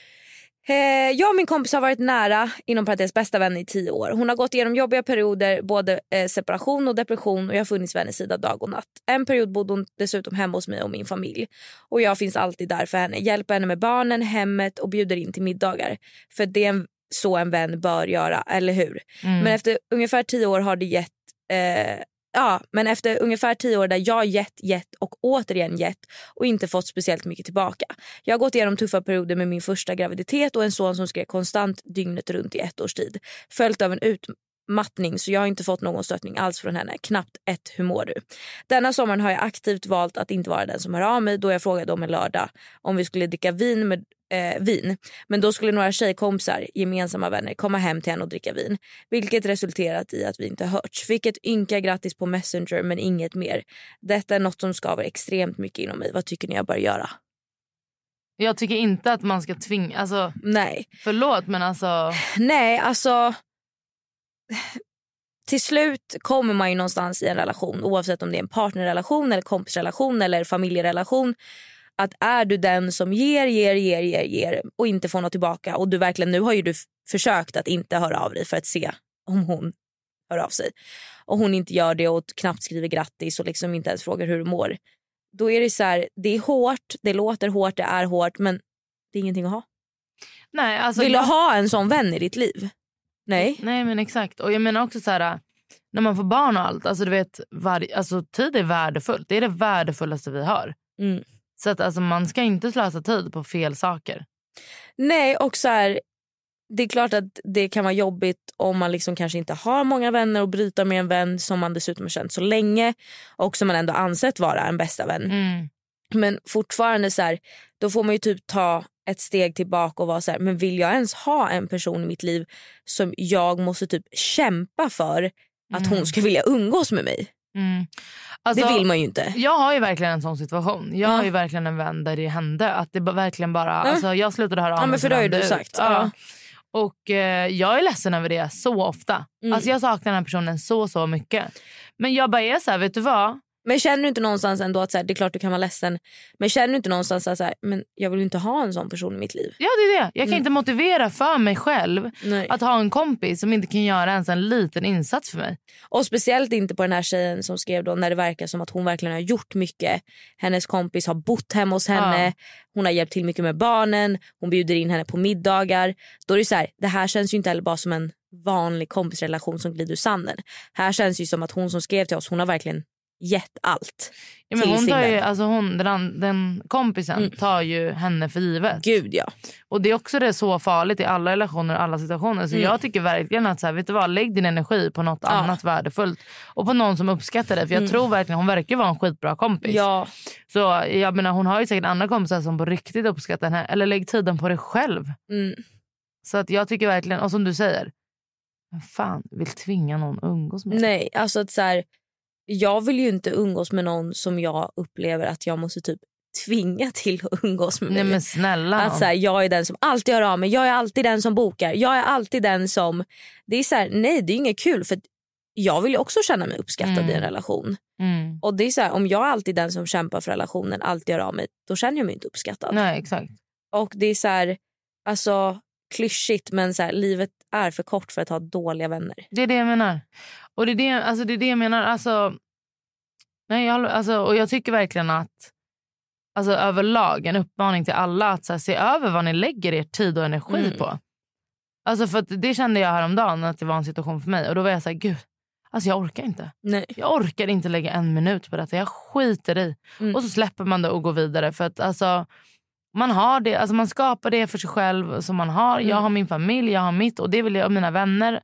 Eh, jag och min kompis har varit nära, inom parentes bästa vän i tio år. Hon har gått igenom jobbiga perioder, både eh, separation och depression och jag har funnits vid hennes sida dag och natt. En period bodde hon dessutom hemma hos mig och min familj. Och jag finns alltid där för henne, hjälper henne med barnen, hemmet och bjuder in till middagar. För det är en, så en vän bör göra, eller hur? Mm. Men efter ungefär tio år har det gett... Eh, ja, men efter ungefär tio år där jag gett, gett och återigen gett och inte fått speciellt mycket tillbaka. Jag har gått igenom tuffa perioder med min första graviditet och en son som skrek konstant dygnet runt i ett års tid. Följt av en utmattning så jag har inte fått någon stöttning alls från henne. Knappt ett “hur mår du?”. Denna sommaren har jag aktivt valt att inte vara den som hör av mig då jag frågade om en lördag om vi skulle dricka vin med eh, vin. Men då skulle några tjejkompisar, gemensamma vänner, komma hem till henne och dricka vin. Vilket resulterat i att vi inte hörts. Fick ett ynka grattis på Messenger men inget mer. Detta är något som skaver extremt mycket inom mig. Vad tycker ni jag bör göra? Jag tycker inte att man ska tvinga... Alltså, Nej. förlåt, men alltså... Nej, alltså... Till slut kommer man ju någonstans i en relation oavsett om det är en partnerrelation, eller kompisrelation eller familjerelation. Att är du den som ger, ger, ger, ger, ger och inte får något tillbaka och du verkligen, nu har ju du f- försökt att inte höra av dig för att se om hon hör av sig och hon inte gör det och knappt skriver grattis och liksom inte ens frågar hur du mår. Då är det så här, det är hårt, det låter hårt, det är hårt men det är ingenting att ha. Nej, alltså Vill du jag- ha en sån vän i ditt liv? Nej. Nej men exakt. Och jag menar också så här när man får barn och allt, alltså du vet varje, alltså tid är värdefullt. Det är det värdefullaste vi har. Mm. Så att alltså man ska inte slösa tid på fel saker. Nej, och så här, det är klart att det kan vara jobbigt om man liksom kanske inte har många vänner och bryta med en vän som man dessutom har känt så länge och som man ändå ansett vara en bästa vän. Mm. Men fortfarande så här, då får man ju typ ta ett steg tillbaka och vara så här, men vill jag ens ha en person i mitt liv som jag måste typ kämpa för att Mm. hon ska vilja umgås med mig? Mm. Alltså, det vill man ju inte. Jag har ju verkligen en sån situation. Jag Ja. har ju verkligen en vän där det hände. Att det bara- verkligen bara, Ja. alltså, jag slutade höra av Ja, men mig för sen det har ju han du dog. sagt. Ja. Ja. Och eh, jag är ledsen över det så ofta. Mm. Alltså jag saknar den här personen så, så mycket. Men jag bara är så här, vet du vad? Men känner du inte någonstans ändå att så här, det är klart du kan vara ledsen men känner du inte någonstans att så här, men jag vill ju inte ha en sån person i mitt liv? Ja det är det. Jag kan Mm. inte motivera för mig själv Nej. Att ha en kompis som inte kan göra ens en liten insats för mig. Och speciellt inte på den här tjejen som skrev då när det verkar som att hon verkligen har gjort mycket. Hennes kompis har bott hemma hos henne. Ja. Hon har hjälpt till mycket med barnen. Hon bjuder in henne på middagar. Då är det så här, det här känns ju inte heller bara som en vanlig kompisrelation som glider ur sanden. Här känns det ju som att hon som skrev till oss, hon har verkligen gett allt Ja, men till Mm. hon sin tar ju, vän. alltså hon, den, den kompisen tar ju henne för givet. Gud ja. Och det är också det så farligt i alla relationer och alla situationer. Så Mm. jag tycker verkligen att så här, vet du vad, lägg din energi på något Ja. annat värdefullt. Och på någon som uppskattar det. För jag Mm. tror verkligen, hon verkar ju vara en skitbra kompis. ja. Så jag menar, hon har ju säkert andra kompisar som på riktigt uppskattar henne. Eller lägg tiden på dig själv. Mm. Så att jag tycker verkligen, och som du säger. Vem fan vill tvinga någon att umgås med sig? Nej, alltså att så här, jag vill ju inte umgås med någon som jag upplever att jag måste typ tvinga till att umgås med Nej mig. men snälla nån. Att så här, jag är den som alltid hör av mig, jag är alltid den som bokar, jag är alltid den som... Det är så här, nej det är inget kul för att jag vill ju också känna mig uppskattad Mm. i en relation. mm. Och det är så här, om jag är alltid den som kämpar för relationen, alltid hör av mig, då känner jag mig inte uppskattad. Nej exakt. Och det är så här, alltså klyschigt men så här, livet är för kort för att ha dåliga vänner. Det är det jag menar. Och det är det, alltså, det, är det jag menar. Alltså, nej, jag, håller- alltså, och jag tycker verkligen att alltså, överlag en uppmaning till alla att så här, se över vad ni lägger er tid och energi Mm. på. Alltså, för att det kände jag häromdagen att det var en situation för mig. Och då var jag så här, gud, alltså, jag orkar inte. Nej. Jag orkar inte lägga en minut på detta. Jag skiter i. Mm. Och så släpper man det och går vidare. För att alltså, man har det, alltså man skapar det för sig själv som man har. Jag Mm. har min familj, jag har mitt och det vill jag och mina vänner.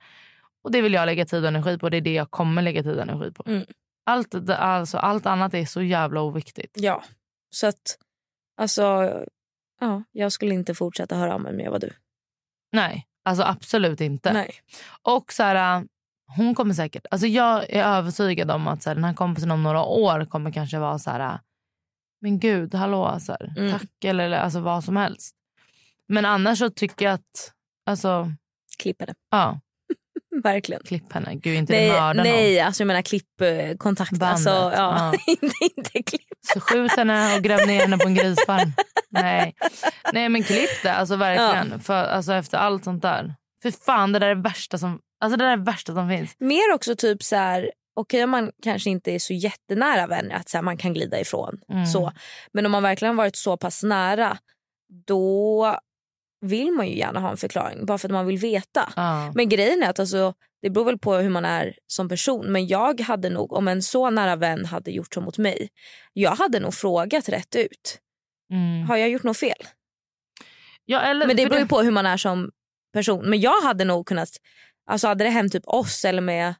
Och det vill jag lägga tid och energi på och det är det jag kommer lägga tid och energi på. Mm. Allt, det- alltså, allt annat är så jävla oviktigt. Ja, så att alltså, ja, jag skulle inte fortsätta höra av mig om jag var du. Nej, alltså absolut inte. Nej. Och så här, äh, hon kommer säkert... Alltså jag är övertygad om att så här, den här kompisen om några år kommer kanske vara så här... äh, Men gud, hallå, så här, Mm. tack eller, eller alltså vad som helst. Men annars så tycker jag att... Alltså, Klipp henne. ja, Verkligen. klipp henne. Gud, inte nej, mörda någon. nej alltså jag menar klippkontakt. Bandet, Alltså, ja. ja. inte, inte klipp. Så skjut henne och gräv ner henne på en grisfarm. nej. nej, men klipp det. Alltså verkligen. För, alltså, efter allt sånt där. För fan, det där är det värsta som, alltså, det där är det värsta som finns. Mer också typ så här, okej om man kanske inte är så jättenära vänner att så här, man kan glida ifrån. Mm. Så. Men om man verkligen har varit så pass nära då vill man ju gärna ha en förklaring bara för att man vill veta. Ja. Men grejen är att alltså, det beror väl på hur man är som person. Men jag hade nog, om en så nära vän hade gjort så mot mig, jag hade nog frågat rätt ut. Mm. Har jag gjort något fel? Ja, eller, Men det för beror ju på hur man är som person. Men jag hade nog kunnat, alltså hade det hänt typ oss eller med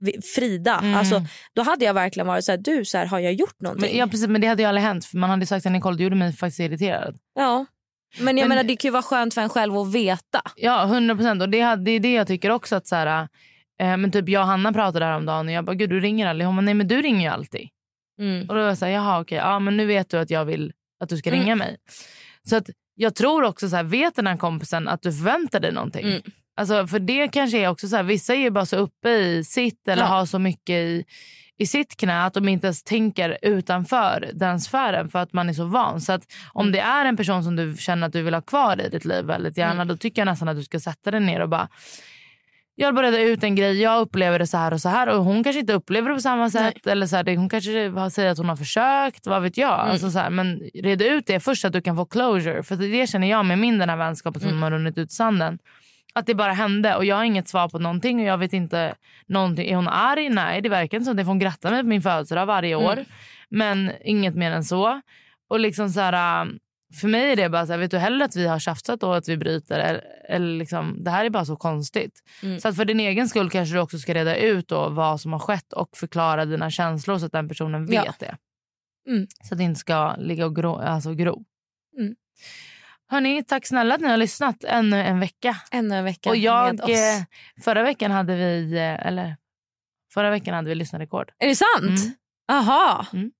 vi- Frida, Mm. alltså, då hade jag verkligen varit så här, du så här, har jag gjort någonting? Men, ja, precis, men det hade ju aldrig hänt. För man hade ju sagt att Nicole, du gjorde mig faktiskt irriterad. Ja. Men jag Men- menar det kan ju vara skönt för en själv att veta. Ja, 100 procent. Och det, hade- det är det jag tycker också. att så här, eh, men typ Jag och Hanna pratade häromdagen och jag bara, gud du ringer aldrig. Hon bara, nej men du ringer ju alltid. Och då var jag så här, jaha okej, ja, men nu vet du att jag vill att du ska Mm. ringa mig. Så att jag tror också så här, vet den här kompisen att du förväntar dig någonting? Mm. Alltså, för det kanske är också så här, vissa är ju bara så uppe i sitt eller Ja. har så mycket i, i sitt knä att de inte ens tänker utanför den sfären för att man är så van. Så att om Mm. det är en person som du känner att du vill ha kvar i ditt liv väldigt gärna, Mm. då tycker jag nästan att du ska sätta dig ner och bara jag vill bara reda ut en grej. Jag upplever det så här och så här. Och hon kanske inte upplever det på samma sätt. Eller så här, det- hon kanske har- säger att hon har försökt. Vad vet jag. Alltså så här, men reda ut det först så att du kan få closure. För det känner jag med min den här vänskapen som har runnit ut i sanden. Att det bara hände och jag har inget svar på någonting och jag vet inte någonting. Är hon arg? Nej, det verkar inte som det. För hon grattar mig på min födelsedag varje år. Men inget mer än så. Och liksom så här, äh, för mig är det bara så här, vet du hellre att vi har tjafsat och att vi bryter. Eller, eller liksom, det här är bara så konstigt. Mm. Så att för din egen skull kanske du också ska reda ut då vad som har skett och förklara dina känslor så att den personen vet Ja. det. Mm. Så att det inte ska ligga och gro. Alltså gro. Mm. Hörni, tack snälla att ni har lyssnat ännu en vecka. Ännu en vecka Och med jag, oss. eh, förra veckan hade vi, eh, eller förra veckan hade vi lyssnarrekord. Är det sant? Mm. Aha. Mm.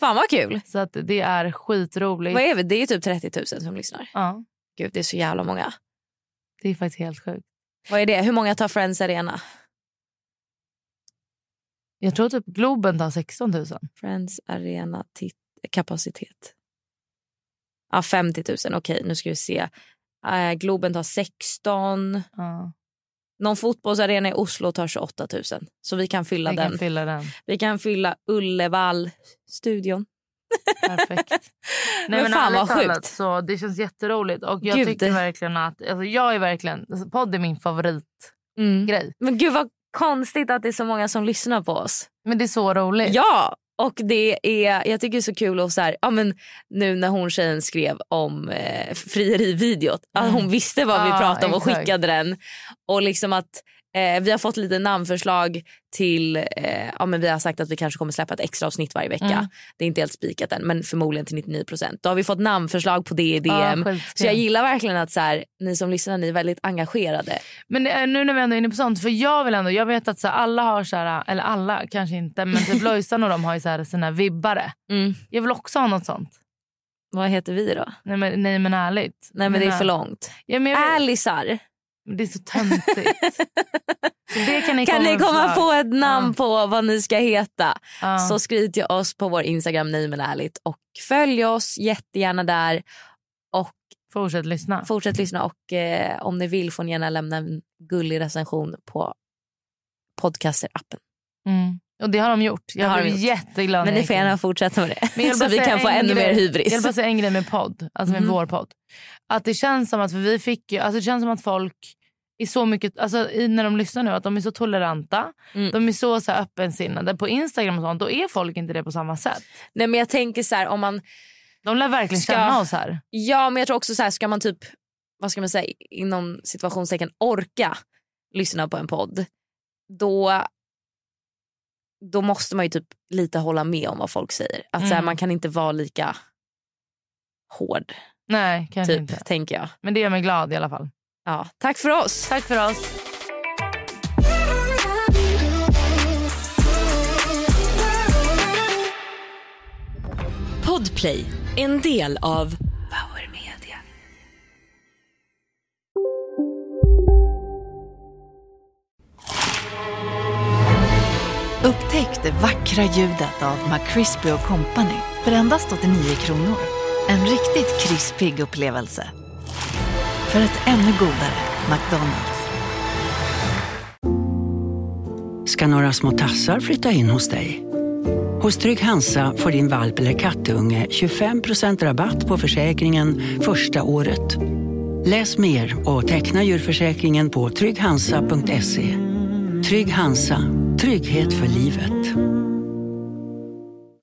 Fan vad kul. Så att det är skitroligt. Vad är vi? Det är typ 30 000 som lyssnar. Ja, Gud, det är så jävla många. det är faktiskt helt sjukt. Vad är det? Hur många tar Friends Arena? Jag tror typ Globen tar 16 000. Friends Arena tit- kapacitet. Ja, 50 000. Okej, nu ska vi se. Eh, Globen tar 16. Ja, Någon fotbollsarena i Oslo tar 28 000. Så vi kan fylla vi den. kan fylla den. vi kan fylla Ullevall-studion. Perfekt. Men fan, ärligt vad talat, sjukt. Så det känns jätteroligt. Och jag Gud. alltså, Mm. tycker verkligen att... Alltså jag är verkligen... Podd är min favoritgrej. Men gud vad konstigt att det är så många som lyssnar på oss. Men det är så roligt. Ja, och det är, jag tycker det är så kul att så här, ja, men nu när hon tjejen skrev om eh, frierivideot, att hon visste vad vi Ja, pratade om och exakt. skickade den. Och liksom att eh, vi har fått lite namnförslag till, eh, ja men vi har sagt att vi kanske kommer släppa ett extra avsnitt varje vecka. Det är inte helt spikat än men förmodligen till 99%. Då har vi fått namnförslag på det i DM. skitkul. så jag gillar verkligen att så här, ni som lyssnar ni är väldigt engagerade. Men det är, nu när vi ändå är inne på sånt, för jag vill ändå, jag vet att så här, alla har så här, eller alla kanske inte, men typ Lojsan och de har ju så här, sina vibbare. Mm. Jag vill också ha något sånt. Vad heter vi då? Nej men, nej, men ärligt. Nej men det är Nej. för långt. Ja, men jag vill, Alisar. men det är så töntigt. Så det kan ni Kan komma ni med komma förslag. på ett namn Ja. på vad ni ska heta? Ja. Så skriv till oss på vår Instagram nej men ärligt och följ oss jättegärna där. Och Fortsätt lyssna. fortsätt lyssna och eh, om ni vill får ni gärna lämna en gullig recension på podcasterappen. Mm. Och det har de gjort. Det har Jag de blev gjort. jätteglad. Men när ni får jag kom. gärna fortsätta med det Men jag vill så bara vi säga kan få en ännu grej- mer Jag vill hybris. bara säga en grej med podd, alltså med Mhm. vår podd. Att det känns som att, för vi fick ju, alltså det känns som att folk är så mycket, alltså i, när de lyssnar nu, att de är så toleranta. Mm. De är så, så här, öppensinnade. På Instagram och sånt, då är folk inte det på samma sätt. Nej men jag tänker så här om man De lär verkligen Ska- känna oss här. Ja, men jag tror också så här, ska man typ, vad ska man säga, inom situationstecken orka lyssna på en podd, då, då måste man ju typ lite hålla med om vad folk säger. Att så här, Mm. man kan inte vara lika hård, Nej, kanske typ, inte. tänker jag. Men det gör mig glad i alla fall. Ja, tack för oss! Tack för oss. Podplay, en del av Power Media. Upptäck det vackra ljudet av McCrispy Company för endast 89 kronor. En riktigt krispig upplevelse. För ett ännu godare McDonalds. ska några små tassar flytta in hos dig. Hos Trygg Hansa får din valp eller kattunge 25% rabatt på försäkringen första året. Läs mer och teckna djurförsäkringen på trygghansa.se. Trygg Hansa, trygghet för livet.